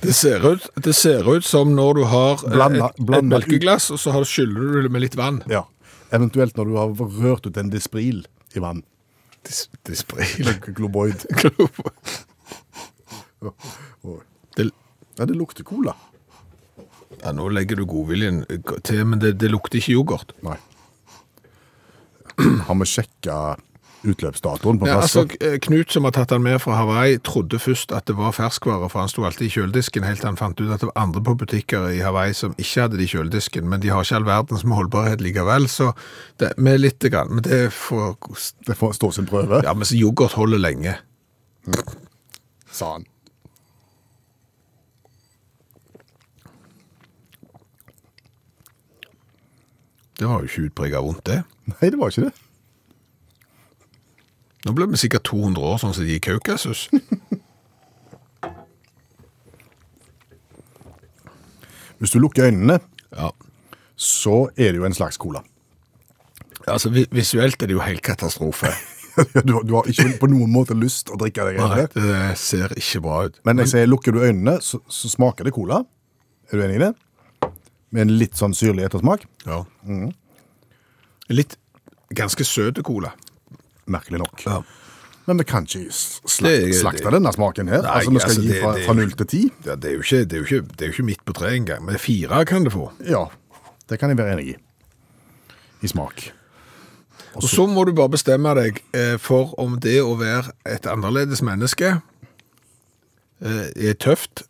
Speaker 2: Det ser ut, det ser ut som når du har eh,
Speaker 3: Blanda-
Speaker 2: et, et
Speaker 3: blanda ut.
Speaker 2: melkeglass, og så har- skyller du det med litt vann.
Speaker 3: Ja. Eventuelt når du har rørt ut en dispril i vann.
Speaker 2: Dis- Dispril.
Speaker 3: Eller Globoid.
Speaker 2: Det,
Speaker 3: Ja, det lukter cola.
Speaker 2: Ja, nå legger du godviljen eh, til, men det, det lukter ikke yoghurt.
Speaker 3: Nei. Har vi sjekka utløpsdatoen på
Speaker 2: Ja, altså,
Speaker 3: flaska?
Speaker 2: K- Knut, som har tatt den med fra Hawaii, trodde først at det var ferskvare, for han sto alltid i kjøledisken, helt til han fant ut at det var andre på butikker i Hawaii som ikke hadde det i kjøledisken, men de har ikke all verdens med holdbarhet likevel, så det, med litt, grann, men det får...
Speaker 3: det får stå sin prøve,
Speaker 2: Ja, men så yoghurt holder lenge.
Speaker 3: sa han.
Speaker 2: Det var jo ikke utprega vondt, det.
Speaker 3: Nei, det var ikke det.
Speaker 2: Nå ble vi sikkert 200 år, sånn som de i Kaukasus.
Speaker 3: Hvis du lukker øynene,
Speaker 2: Ja.
Speaker 3: så er det jo en slags cola.
Speaker 2: Altså, vi- visuelt er det jo helt katastrofe.
Speaker 3: Du, du har ikke på noen måte lyst å drikke det.
Speaker 2: Nei,
Speaker 3: greiene der.
Speaker 2: det ser ikke bra ut.
Speaker 3: Men jeg sier, lukker du øynene, så, så smaker det cola. Er du enig i det? Med en litt sånn syrlig ettersmak.
Speaker 2: Ja. Mm. Litt ganske søte cola.
Speaker 3: Merkelig nok.
Speaker 2: Ja.
Speaker 3: Men vi kan ikke s-
Speaker 2: Det
Speaker 3: slak,
Speaker 2: er-
Speaker 3: slakte denne smaken her.
Speaker 2: Nei,
Speaker 3: altså, vi skal
Speaker 2: altså,
Speaker 3: gi
Speaker 2: det-
Speaker 3: fra,
Speaker 2: det-
Speaker 3: fra null til ti.
Speaker 2: Ja, det, er jo ikke, det, er jo ikke, det er jo ikke midt på treet engang, men fire kan det få.
Speaker 3: Ja, det kan jeg være enig i. I smak.
Speaker 2: Og så må du bare bestemme deg eh, for om det å være et annerledes menneske eh, er tøft.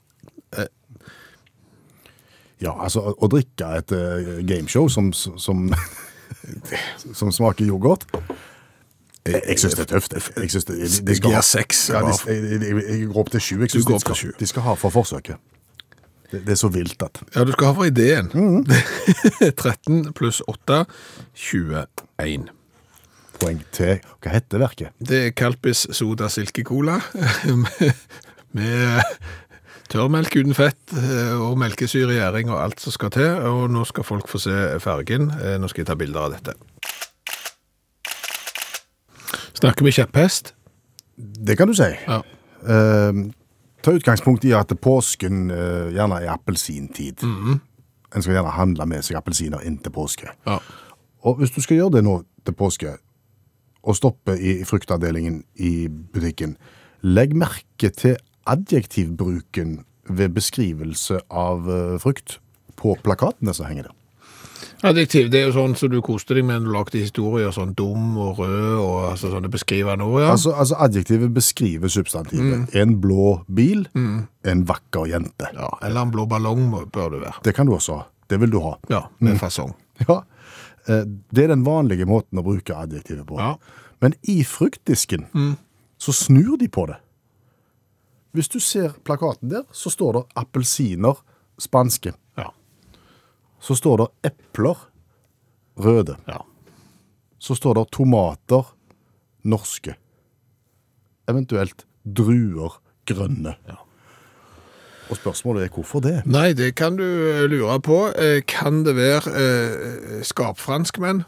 Speaker 3: Ja, altså å- å drikke et eh, gameshow som, som, som smaker yoghurt Jeg, jeg syns det er tøft. Jeg, jeg synes det, de, de skal
Speaker 2: gir
Speaker 3: ha-
Speaker 2: seks,
Speaker 3: Ja, de,
Speaker 2: Ralf.
Speaker 3: jeg, jeg, jeg, jeg går opp til sju. Jeg synes
Speaker 2: går
Speaker 3: de,
Speaker 2: opp til
Speaker 3: skal-
Speaker 2: sju.
Speaker 3: de skal ha for forsøket. Det, det er så vilt at
Speaker 2: Ja, du skal ha for ideen. 13 pluss 8, 21.
Speaker 3: Poeng til Hva heter verket?
Speaker 2: Det er Kalpis Soda Silkecola med tørrmelk uten fett eh, og melkesyre i gjæring og alt som skal til. Og nå skal folk få se fargen. Eh, Nå skal jeg ta bilder av dette. Snakker vi kjepphest?
Speaker 3: Det kan du si.
Speaker 2: Ja.
Speaker 3: Eh, ta utgangspunkt i at påsken eh, gjerne er appelsintid. En skal gjerne handle med seg appelsiner inntil påske.
Speaker 2: Mhm. ja.
Speaker 3: Og hvis du skal gjøre det nå til påske, og stoppe i fruktavdelingen i butikken, legg merke til adjektivbruken ved beskrivelse av eh, frukt på plakatene som henger der.
Speaker 2: Adjektiv, det er jo sånn som du koste deg med når du lagde historier, sånn dum og rød og altså, sånne beskrivende ord, ja. Mm.
Speaker 3: Altså, altså adjektivet beskriver substantivet. En blå bil, en vakker jente.
Speaker 2: ja. Eller en blå ballong må- bør du være.
Speaker 3: Det kan du også ha. Det vil du ha.
Speaker 2: Ja, mm. med fasong.
Speaker 3: Ja, eh, det er den vanlige måten å bruke adjektivet på.
Speaker 2: Ja. Mm.
Speaker 3: Men i fruktdisken så snur de på det. Hvis du ser plakaten der, så står det appelsiner spanske.
Speaker 2: Ja.
Speaker 3: Så står det epler røde.
Speaker 2: ja.
Speaker 3: Så står det tomater norske. Eventuelt druer grønne. Og spørsmålet er hvorfor det?
Speaker 2: Nei, det kan du eh, lure på. Eh, Kan det være eh, skapfranskmenn?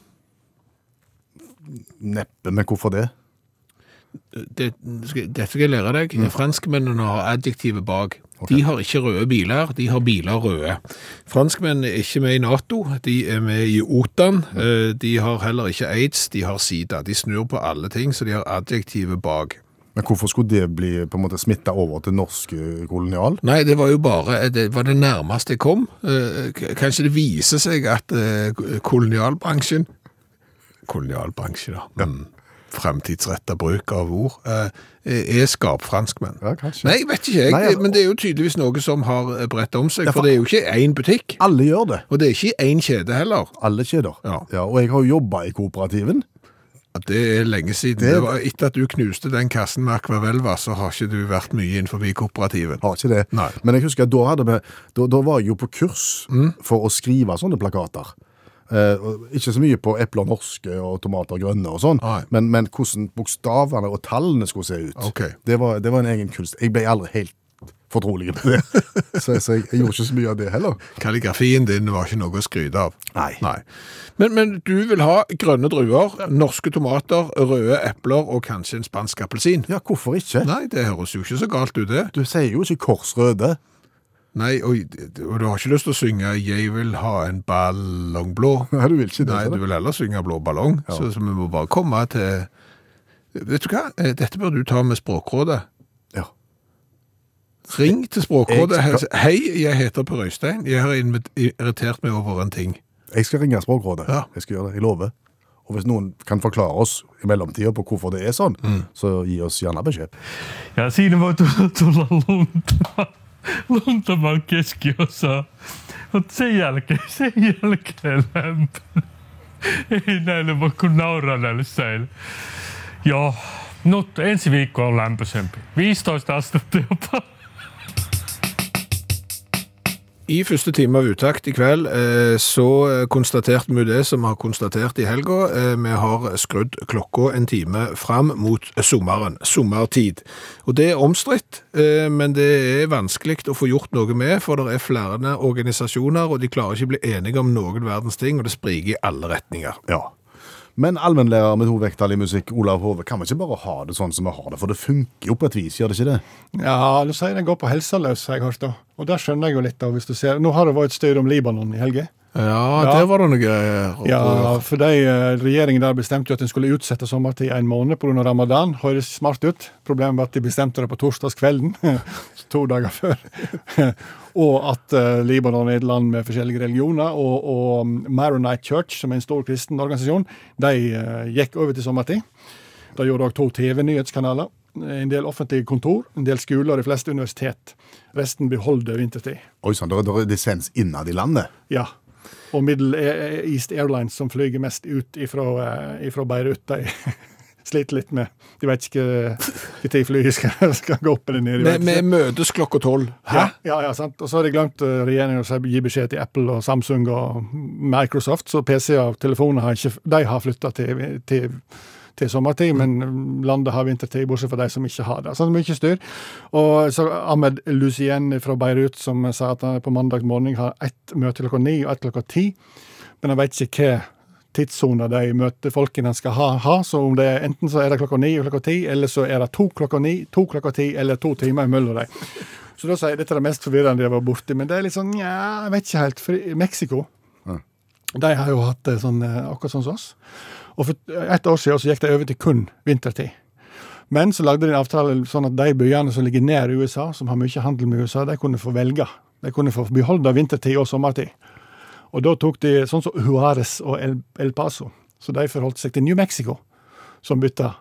Speaker 3: Neppe, men hvorfor det?
Speaker 2: Det, skal- dette skal jeg lære deg. Franskmennene har adjektivet bak. De har ikke røde biler, de har biler røde. Franskmennene er ikke med i Nato, de er med i OTAN. Eh, De har heller ikke aids, de har sida. De snur på alle ting, så de har adjektivet bak.
Speaker 3: Men hvorfor skulle det bli på en måte smitta over til norske kolonial?
Speaker 2: Nei, det var jo bare eh, det var det nærmeste jeg kom. Eh, k- Kanskje det viser seg at eh, kolonialbransjen Kolonialbransjen, ja. Mm. Fremtidsrettet bruk av ord. eh, Er skapfranskmenn.
Speaker 3: Ja, kanskje.
Speaker 2: Nei, jeg vet ikke jeg.
Speaker 3: Nei, altså-
Speaker 2: men det er jo tydeligvis noe som har eh, bredt om seg.
Speaker 3: Ja, for-
Speaker 2: For det er jo ikke én butikk.
Speaker 3: Alle gjør det.
Speaker 2: Og det er ikke én kjede heller.
Speaker 3: Alle kjeder.
Speaker 2: Ja.
Speaker 3: og jeg har jo jobba i kooperativen.
Speaker 2: Ja, Det er lenge siden.
Speaker 3: Det-
Speaker 2: Det var Etter at du knuste den kassen med Akvavelva, så har ikke du vært mye innenfor kooperativet.
Speaker 3: Har ikke det.
Speaker 2: Nei.
Speaker 3: Men jeg husker at da, hadde vi, da, da var jeg jo på kurs
Speaker 2: Mm.
Speaker 3: for å skrive sånne plakater. Eh, og ikke så mye på epler norske og tomater grønne og sånn,
Speaker 2: Nei.
Speaker 3: men, men hvordan bokstavene og tallene skulle se ut.
Speaker 2: Ok.
Speaker 3: Det, var, det var en egen kunst. Jeg ble aldri helt fortrolig med det, så, så jeg, jeg gjorde ikke så mye av det heller.
Speaker 2: Kalligrafien din var ikke noe å skryte av.
Speaker 3: Nei.
Speaker 2: Men, men du vil ha grønne druer, norske tomater, røde epler og kanskje en spansk appelsin?
Speaker 3: Ja, hvorfor ikke?
Speaker 2: Nei, det høres jo ikke så galt ut, det.
Speaker 3: Du sier jo ikke korsrøde.
Speaker 2: Nei, og, og du har ikke lyst til å synge 'Jeg vil ha en ballong blå'?
Speaker 3: Nei, du vil ikke det.
Speaker 2: Nei,
Speaker 3: sa
Speaker 2: du vil heller synge 'Blå ballong', så, så vi må bare komme til Vet du hva, Eh, dette bør du ta med Språkrådet.
Speaker 3: Ja.
Speaker 2: Ring til Språkrådet.
Speaker 3: Jeg
Speaker 2: Hei, jeg heter Per Øystein. Jeg har invit- irritert meg over en ting.
Speaker 3: Jeg skal ringe Språkrådet.
Speaker 2: Ja.
Speaker 3: Jeg skal gjøre det, jeg lover. Og hvis noen kan forklare oss i mellomtida på hvorfor det er sånn,
Speaker 2: Mm.
Speaker 3: så gi oss gjerne beskjed.
Speaker 7: Ja siinä voi tulla, tulla lunta, lunta vaan keskiosaa. Mutta sen jälkeen, sen jälkeen lämpö. Ei näille voi kuin nauraa näille säille. Joo, nyt ensi viikko on lämpöisempi. 15 astetta jopa.
Speaker 2: I første time av Utakt i kveld eh, så konstaterte vi det som vi har konstatert i helga. Eh, Vi har skrudd klokka en time fram mot sommeren, sommertid. Og det er omstridt, eh, men det er vanskelig å få gjort noe med, for det er flere organisasjoner, og de klarer ikke å bli enige om noen verdens ting, og det spriker i alle retninger.
Speaker 3: Ja. Men allmennlærer med to vekttall i musikk, Olav Hove, kan vi ikke bare ha det sånn som vi har det? For det funker jo på et vis, gjør det ikke det?
Speaker 5: Ja, du sier den går på helseløs, har jeg hørt. da. Og der skjønner jeg jo litt, da, hvis du ser. Nå har det vært styr om Libanon i helga.
Speaker 2: Ja,
Speaker 5: Ja.
Speaker 2: der var det noe eh,
Speaker 5: Ja,
Speaker 2: opprør.
Speaker 5: for de, eh, Regjeringen der bestemte jo at en skulle utsette sommertid en måned pga. ramadan. Høres smart ut. Problemet var at de bestemte det på torsdagskvelden, så to dager før. og at eh, Libanon er et land med forskjellige religioner. Og, og mm, Maronite Church, som er en stor kristen organisasjon, de eh, gikk over til sommertid. Det gjorde òg to TV-nyhetskanaler, en del offentlige kontor, en del skoler og de fleste universitet. Resten beholder vintertid.
Speaker 3: Oi sann, det er dissens innad i landet.
Speaker 5: Ja. Og Middle E- East Airlines, som flyger mest ut ifra, eh, ifra Beirut, de sliter litt med De vet ikke når flyet skal, skal gå opp eller ned. de
Speaker 2: Vi,
Speaker 5: vet
Speaker 2: vi
Speaker 5: ikke.
Speaker 2: møtes klokka tolv.
Speaker 5: Hæ? Ja, ja, sant. Og så har de glemt eh, regjeringen å si- gi beskjed til Apple og Samsung og Microsoft, så PC-er og telefoner har ikke De har flytta til, til, til sommertid, men mm, landet har vintertid, bortsett fra de som ikke har det. Sånn mye styr. Og så Ahmed Lucien fra Beirut som sa at han på mandag morgen har ett møte klokka ni og ett klokka ti, men han vet ikke hva tidssone de møter folkene han skal ha, ha. Så om det er, enten så er det klokka ni og klokka ti, eller så er det to klokka ni, to klokka ti eller to timer mellom dem. Så da sier jeg dette er det mest forvirrende jeg var borti, men det er litt sånn nja, jeg vet ikke helt. For i Mexico de har jo hatt det sånn, eh, akkurat sånn som oss. Og for ett år siden så gikk de over til kun vintertid. Men så lagde de en avtale sånn at de byene som ligger nær USA, som har mye handel med USA, de kunne få velge. De kunne få beholde vintertid og sommertid. Og da tok de sånn som Juarez og El, El Paso. Så de forholdt seg til New Mexico, som bytta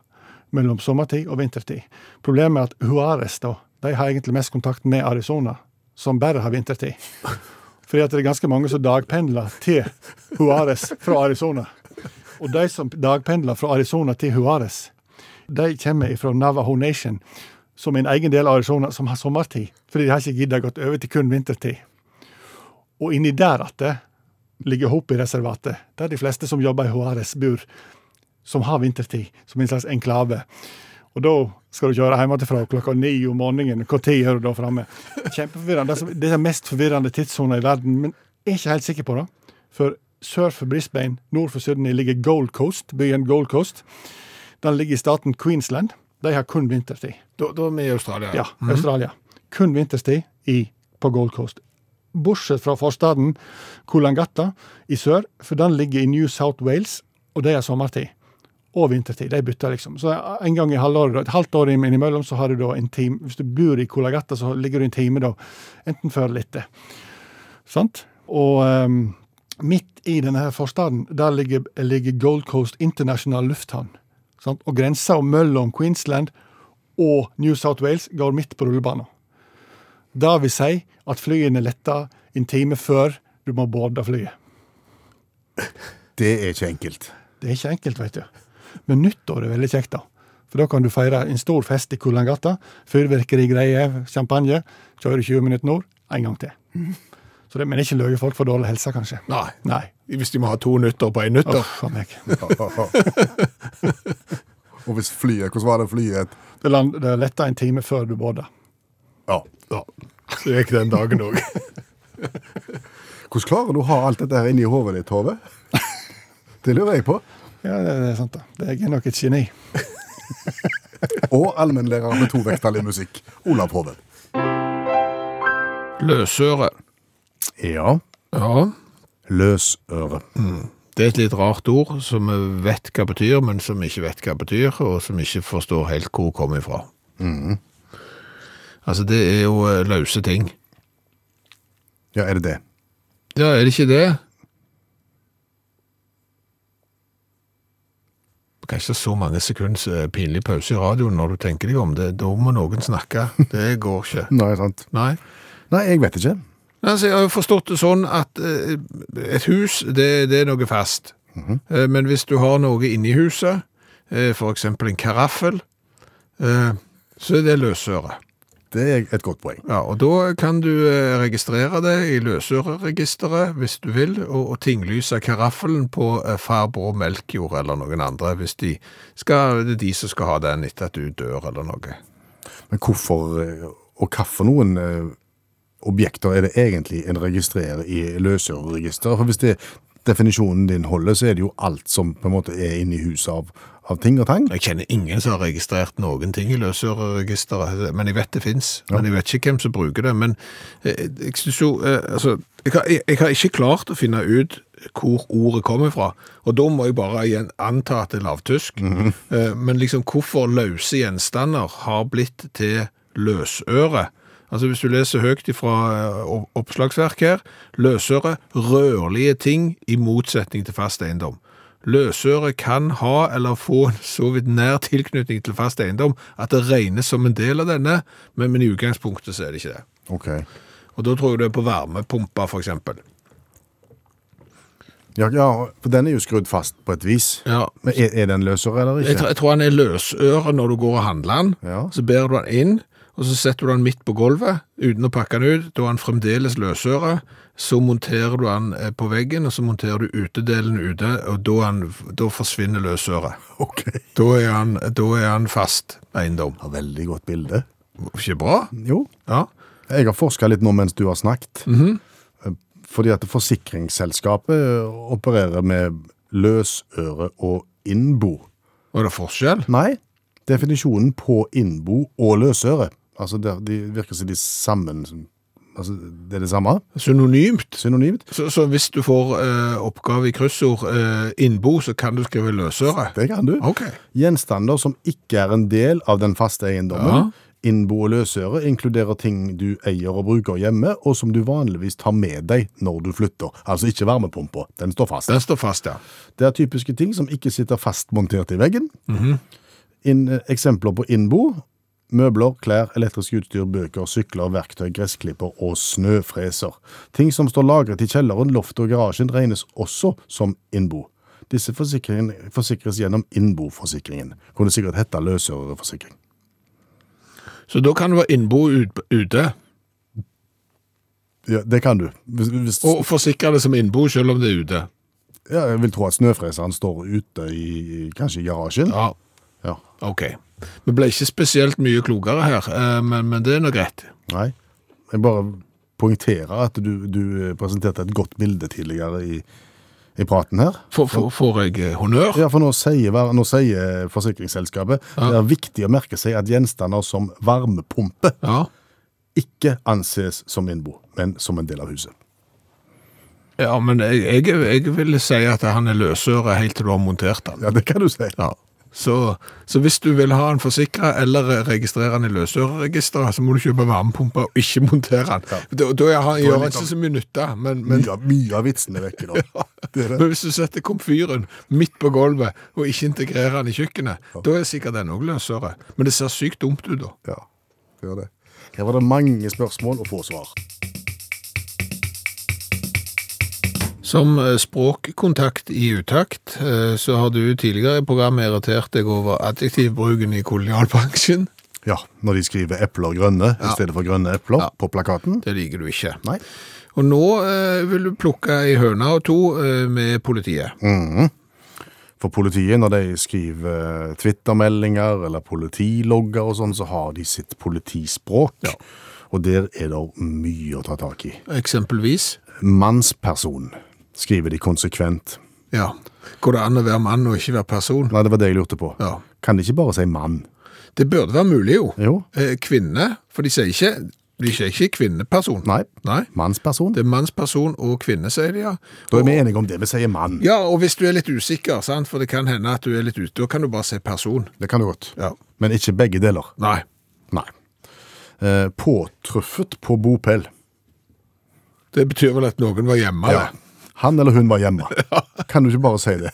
Speaker 5: mellom sommertid og vintertid. Problemet er at Juarez da, de har egentlig mest kontakt med Arizona, som bare har vintertid. Fordi at det er ganske mange som dagpendler til Juarez fra Arizona. Og de som dagpendler fra Arizona til Juarez, de kommer fra Navajo Nation, som er en egen del av Arizona, som har sommertid. Fordi de har ikke giddet gått over til kun vintertid. Og inni der at det ligger Hopi-reservatet, der de fleste som jobber i Juarez, bor, som har vintertid, som en slags enklave. Og da skal du kjøre hjemmefra klokka ni om morgenen. Når er du da framme? Kjempeforvirrende. Det er som- Det er den mest forvirrende tidssona i verden, men jeg er ikke helt sikker på det. For sør for Brisbane, nord for Sydney, ligger Gold Coast, byen Gold Coast. Den ligger i staten Queensland. De har kun vintertid.
Speaker 2: Da, da er vi i Australia.
Speaker 5: Ja, Australia. Kun vinterstid i, på Gold Coast. Bortsett fra forstaden Kulangata i sør, for den ligger i New South Wales, og det er sommertid. Og vintertid. De bytter, liksom. Så en gang i halvåret, da, et halvt år inn- innimellom, så har du da en time Hvis du bor i Kulangata, så ligger du en time, da, enten før eller etter. Sant? Og ehm, midt i denne her forstaden, der ligger, ligger Gold Coast International Lufthavn. Sant? Og grensa mellom Queensland og New South Wales går midt på rullebanen. Det vil si at flyene letter en time før du må boarde flyet.
Speaker 3: Det er ikke enkelt.
Speaker 5: Det er ikke enkelt, vet du. Men nyttår er veldig kjekt, da. For da kan du feire en stor fest i Kulangata. Fyrverkeri, greier, champagne. Kjører 20 minutter nord, en gang til. Så det, men ikke løye folk for dårlig helse, kanskje.
Speaker 2: Nei.
Speaker 5: Nei.
Speaker 2: Hvis de må ha to nytter på en nytter.
Speaker 5: Uff a meg.
Speaker 3: og hvis flyet Hvordan var det flyet?
Speaker 5: Det, land, det letter en time før du boarder.
Speaker 3: Ja.
Speaker 2: Ja, så gikk den dagen òg.
Speaker 3: Hvordan klarer du å ha alt dette her inni hodet ditt, Hove? Det lurer jeg på.
Speaker 5: Ja, det, det er sant, da. Det er nok et geni.
Speaker 3: Og allmennlærer med to vekttall i musikk, Olav Hove.
Speaker 2: Løsøre.
Speaker 3: Ja.
Speaker 2: Ja,
Speaker 3: Løsøre.
Speaker 2: det er et litt rart ord som vi vet hva betyr, men som vi ikke vet hva betyr, og som vi ikke forstår helt hvor det kommer ifra. Altså, det er jo eh, løse ting.
Speaker 3: Ja, er det det?
Speaker 2: Ja, er det ikke det? Det er ikke så mange sekunds eh, pinlig pause i radioen når du tenker deg om det. Da må noen snakke. Det går ikke.
Speaker 3: Nei, sant.
Speaker 2: Nei.
Speaker 3: Nei, jeg vet ikke.
Speaker 2: Altså, jeg har jo forstått det sånn at eh, et hus, det, det er noe fast. Eh, men hvis du har noe inni huset, eh, for eksempel en karaffel, eh, så er det løsøre.
Speaker 3: Det er et godt poeng.
Speaker 2: Ja, og da kan du eh, registrere det i løsøreregisteret hvis du vil, og, og tinglyse karaffelen på eh, farbror Melkjord eller noen andre, hvis de skal, det er de som skal ha den etter at du dør eller noe.
Speaker 3: Men hvorfor eh, og hva for noen eh, objekter er det egentlig en registrerer i løsøreregisteret? For hvis det definisjonen din holder, så er det jo alt som på en måte er inni huset av, av ting og tang.
Speaker 2: Jeg kjenner ingen som har registrert noen ting i løsøreregisteret, men jeg vet det finnes. Men jeg vet ikke hvem som bruker det. Men eh, jeg synes jo eh, Altså, jeg har, jeg, jeg har ikke klart å finne ut hvor ordet kommer fra. Og da må jeg bare igjen anta at det er lavtysk. Eh, Men liksom hvorfor løse gjenstander har blitt til løsøre. Altså Hvis du leser høyt fra oppslagsverk her Løsøre rørlige ting i motsetning til fast eiendom. Løsøre kan ha eller få en så vidt nær tilknytning til fast eiendom at det regnes som en del av denne, men, men i utgangspunktet så er det ikke det.
Speaker 3: Ok.
Speaker 2: Og da tror jeg du er på varmepumpa, for eksempel.
Speaker 3: Ja, ja, for den er jo skrudd fast på et vis.
Speaker 2: Ja.
Speaker 3: Men er, er den løsere eller
Speaker 2: Jeg, tror-
Speaker 3: ikke?
Speaker 2: jeg tror han er løsøre når du går og handler han.
Speaker 3: Ja.
Speaker 2: Så bærer du han inn, og så setter du han midt på gulvet uten å pakke han ut. Da er han fremdeles løsøre. Så monterer du han eh, på veggen, og så monterer du utedelen ute, og da, er han, da forsvinner løsøret.
Speaker 3: Ok.
Speaker 2: Da er, han, da er han fast eiendom.
Speaker 3: Ja, veldig godt bilde.
Speaker 2: Ikke bra?
Speaker 3: Jo.
Speaker 2: Ja.
Speaker 3: Jeg har forska litt nå mens du har snakket. Eh, Fordi at forsikringsselskapet eh, opererer med løsøre og innbo.
Speaker 2: Og det er forskjell?
Speaker 3: Nei, definisjonen på innbo og løsøre. Altså, det, de virker som de sammen Altså, det er det samme.
Speaker 2: Synonymt.
Speaker 3: Synonymt.
Speaker 2: Så, så hvis du får eh, oppgave i kryssord eh, innbo, så kan du skrive løsøre?
Speaker 3: Det kan du.
Speaker 2: Ok.
Speaker 3: Gjenstander som ikke er en del av den faste eiendommen. Innbo og løsøre inkluderer ting du eier og bruker hjemme, og som du vanligvis tar med deg når du flytter. Altså ikke varmepumpa. Den står fast.
Speaker 2: Den står fast, ja.
Speaker 3: Det er typiske ting som ikke sitter fast montert i veggen.
Speaker 2: Mhm.
Speaker 3: Inn- eh, eksempler på innbo. Møbler, klær, elektrisk utstyr, bøker, sykler, verktøy, gressklipper og snøfreser. Ting som står lagret i kjelleren, loftet og garasjen regnes også som innbo. Disse forsikringen forsikres gjennom innboforsikringen. Kunne sikkert hette løsøreforsikring.
Speaker 2: Så da kan du være innbo ut- ute,
Speaker 3: Ja, det kan du. Hvis, hvis,
Speaker 2: og forsikre det som innbo selv om det er ute.
Speaker 3: ja, jeg vil tro at snøfreseren står ute i, i- kanskje i garasjen.
Speaker 2: Ja,
Speaker 3: Ja.
Speaker 2: ok. Vi ble ikke spesielt mye klokere her, eh, men, men det er nå greit.
Speaker 3: Nei. Jeg bare poengterer at du, du presenterte et godt bilde tidligere i, i praten her.
Speaker 2: Får- får- får jeg eh, honnør?
Speaker 3: Ja, for nå sier, hver- nå sier forsikringsselskapet det er viktig å merke seg at gjenstander som varmepumpe
Speaker 2: Ja.
Speaker 3: ikke anses som innbo, men som en del av huset.
Speaker 2: Ja, men jeg, jeg, jeg vil si at han er løsøre helt til du har montert han.
Speaker 3: Ja, det kan du si.
Speaker 2: Ja. Så, så hvis du vil ha den forsikra eller registrere den i løsøreregisteret, så må du kjøpe varmepumpe og ikke montere den. Da, da er han- sånn. gjør han ikke så mye nytte, men, men,
Speaker 3: Mye, av- mye av vitsen er vekke nå. Det er det.
Speaker 2: men hvis du setter komfyren midt på gulvet og ikke integrerer den i kjøkkenet, da er sikkert den òg løsøre. Men det ser sykt dumt ut, da.
Speaker 3: Ja, det er det. Her var det mange spørsmål og få svar.
Speaker 2: Som eh, språkkontakt i utakt, eh, så har du tidligere i programmet irritert deg over adjektivbruken i kolonialbransjen.
Speaker 3: Ja, når de skriver epler grønne i stedet for grønne epler
Speaker 2: Ja.
Speaker 3: på plakaten.
Speaker 2: Det liker du ikke.
Speaker 3: Nei.
Speaker 2: Og nå eh, vil du plukke ei høne og to eh, med politiet.
Speaker 3: Mm. For politiet, når de skriver eh, Twitter-meldinger eller politilogger og sånn, så har de sitt politispråk. Og der er det mye å ta tak i.
Speaker 2: Eksempelvis.
Speaker 3: Mannsperson skriver de konsekvent.
Speaker 2: Ja. Går det an å være mann og ikke være person?
Speaker 3: Nei, det var det jeg lurte på.
Speaker 2: Ja.
Speaker 3: Kan de ikke bare si mann?
Speaker 2: Det burde være mulig, jo.
Speaker 3: Jo.
Speaker 2: Eh, kvinne, for de sier ikke De sier ikke kvinneperson.
Speaker 3: Nei.
Speaker 2: Nei.
Speaker 3: Mannsperson?
Speaker 2: Det er mannsperson og kvinne, sier de, ja.
Speaker 3: Da er vi enige om det. Vi sier mann.
Speaker 2: Ja, og hvis du er litt usikker, sant? for det kan hende at du er litt ute, da kan du bare si person.
Speaker 3: Det kan du godt.
Speaker 2: Ja.
Speaker 3: Men ikke begge deler.
Speaker 2: Nei.
Speaker 3: Nei. eh, påtruffet på bopel.
Speaker 2: Det betyr vel at noen var hjemme?
Speaker 3: Ja.
Speaker 2: da.
Speaker 3: Han eller hun var hjemme. Kan du ikke bare si det?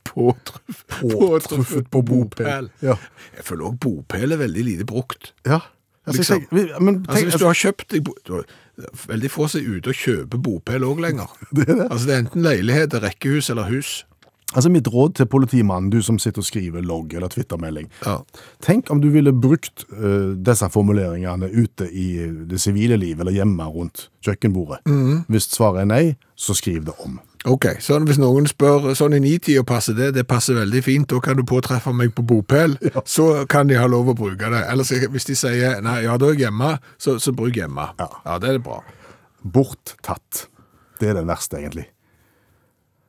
Speaker 2: Påtruff-
Speaker 3: Påtruffet på bopel. Ja.
Speaker 2: Jeg føler også bopel er veldig lite brukt.
Speaker 3: ja.
Speaker 2: Liksom.
Speaker 3: Altså, jeg, tenker- men,
Speaker 2: Altså,
Speaker 3: tenk,
Speaker 2: hvis du har kjøpt deg bo- da- Veldig få som er ute og kjøper bopel òg lenger.
Speaker 3: Det er det.
Speaker 2: Altså, det er enten leilighet, rekkehus eller hus.
Speaker 3: Altså Mitt råd til politimannen, du som sitter og skriver logg eller twittermelding.
Speaker 2: Ja.
Speaker 3: Tenk om du ville brukt eh, disse formuleringene ute i det sivile liv, eller hjemme rundt kjøkkenbordet.
Speaker 2: Mm.
Speaker 3: Hvis svaret er nei, så skriv det om.
Speaker 2: Ok, sånn Hvis noen spør sånn i nitida passer det, det passer veldig fint, da kan du påtreffe meg på bopel, så kan de ha lov å bruke det. Eller så- hvis de sier nei, ja, da er jeg hjemme, så, så bruk hjemme.
Speaker 3: Ja.
Speaker 2: det er bra.
Speaker 3: Borttatt. Det er den verste, egentlig.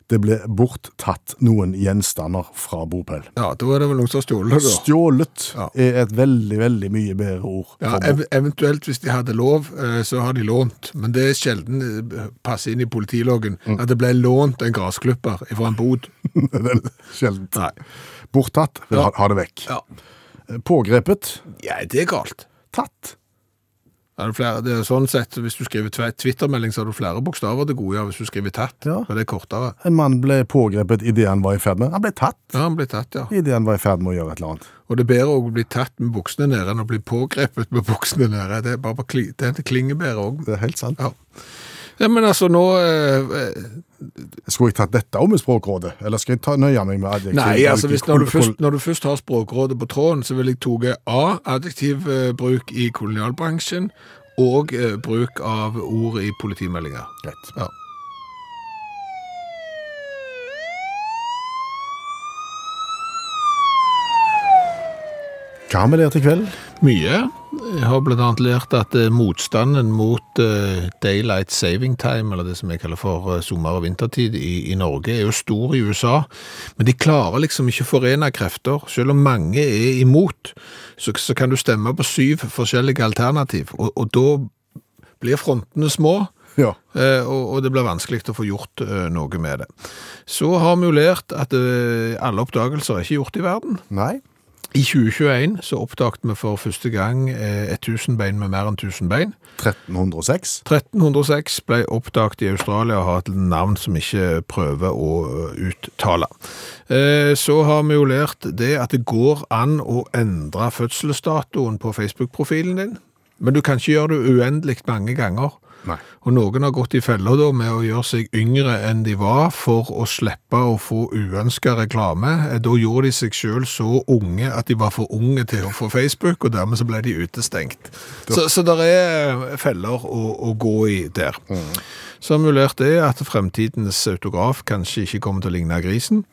Speaker 3: Det ble borttatt noen gjenstander fra bopel.
Speaker 2: Ja, Da er det vel noen som har stjålet det, da.
Speaker 3: Stjålet
Speaker 2: Ja.
Speaker 3: er et veldig, veldig mye bedre ord.
Speaker 2: Ja,
Speaker 3: for
Speaker 2: ev eventuelt hvis de hadde lov, eh, så har de lånt. Men det er sjelden eh, passer inn i politiloggen at det ble lånt en gressklipper fra en bod.
Speaker 3: bopel. Mm. Det er Sjeldent.
Speaker 2: Nei.
Speaker 3: Borttatt. vil
Speaker 2: Ja.
Speaker 3: Ha, ha det vekk.
Speaker 2: Ja.
Speaker 3: Pågrepet.
Speaker 2: ja, det er galt.
Speaker 3: Tatt.
Speaker 2: Er det flere, det er sånn sett, Hvis du skriver tve- Twitter-melding, så har du flere bokstaver til gode ja, hvis du skriver tatt.
Speaker 3: Ja.
Speaker 2: For det er kortere.
Speaker 3: En mann ble pågrepet idet han var i ferd med Han ble tatt
Speaker 2: Ja, han blir tatt, ja.
Speaker 3: idet han var i ferd med å gjøre et eller annet.
Speaker 2: Og det er bedre å bli tatt med buksene nede enn å bli pågrepet med buksene nede. Det er bare på kli, det klinger bedre òg.
Speaker 3: Det er helt sant.
Speaker 2: Ja. ja, men altså, nå eh, eh,
Speaker 3: Skulle jeg tatt dette om i Språkrådet, eller skal jeg ta, nøye meg med adjektiv?
Speaker 2: Nei, altså hvis når, du
Speaker 3: Kol-
Speaker 2: først, når du først har språkrådet på tråden, så vil jeg toge A, adjektivbruk i kolonialbransjen, og eh, bruk av ord i politimeldinger.
Speaker 3: kol- Greit.
Speaker 2: Ja.
Speaker 3: Hva har vi lært i kveld?
Speaker 2: Mye. Jeg har blant annet lært at eh, motstanden mot eh, daylight saving time, eller det som jeg kaller for eh, sommer- og vintertid i, i Norge, er jo stor i USA. Men de klarer liksom ikke å forene krefter. Selv om mange er imot, så, så kan du stemme på syv forskjellige alternativ, og, og da blir frontene små.
Speaker 3: Ja.
Speaker 2: Eh, og, og det blir vanskelig å få gjort eh, noe med det. Så har vi jo lært at eh, alle oppdagelser er ikke gjort i verden.
Speaker 3: Nei.
Speaker 2: I 2021 så oppdaget vi for første gang eh, et tusenbein med mer enn 1000 bein.
Speaker 3: 1306.
Speaker 2: 1306 ble oppdaget i Australia og har et navn som ikke prøver å eh, uttale. Eh, Så har vi jo lært det at det går an å endre fødselsdatoen på Facebook-profilen din, men du kan ikke gjøre det uendelig mange ganger.
Speaker 3: Nei.
Speaker 2: Og noen har gått i feller da med å gjøre seg yngre enn de var for å slippe å få uønska reklame. Eh, Da gjorde de seg sjøl så unge at de var for unge til å få Facebook, og dermed så ble de utestengt. Så, så det er feller å, å gå i der. Så har vi lært det at fremtidens autograf kanskje ikke kommer til å ligne grisen.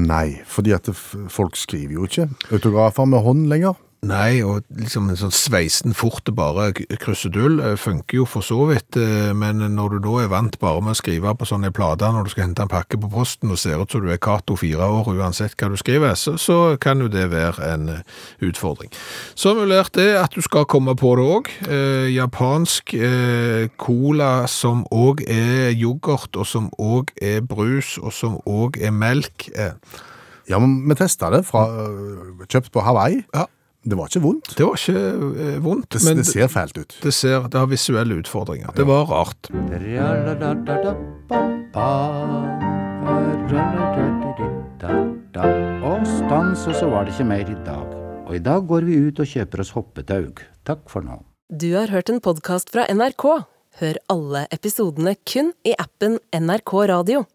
Speaker 3: Nei, fordi at det f- folk skriver jo ikke autografer med hånd lenger.
Speaker 2: Nei, og liksom en sånn sveisen fort og bare k- kryssedull eh, funker jo for så vidt, eh, men når du da er vant bare med å skrive på sånne plater når du skal hente en pakke på posten og ser ut som du er Cato fire år uansett hva du skriver, så, så kan jo det være en eh, utfordring. Så har vi lært det at du skal komme på det òg. Eh, japansk eh, cola som òg er yoghurt, og som òg er brus, og som òg er melk. Eh,
Speaker 3: Ja, men vi testa det. Fra, øh, kjøpt på Hawaii.
Speaker 2: Ja.
Speaker 3: Det var ikke vondt.
Speaker 2: det var ikke eh, vondt.
Speaker 3: Det,
Speaker 2: men-
Speaker 3: det ser fælt ut.
Speaker 2: Det, ser, det har visuelle utfordringer. Det var rart.
Speaker 8: Og stans, og så var det ikke mer i dag. Og i dag går vi ut og kjøper oss hoppetaug. Takk for nå.
Speaker 1: Du har hørt en podkast fra NRK. Hør alle episodene kun i appen NRK Radio.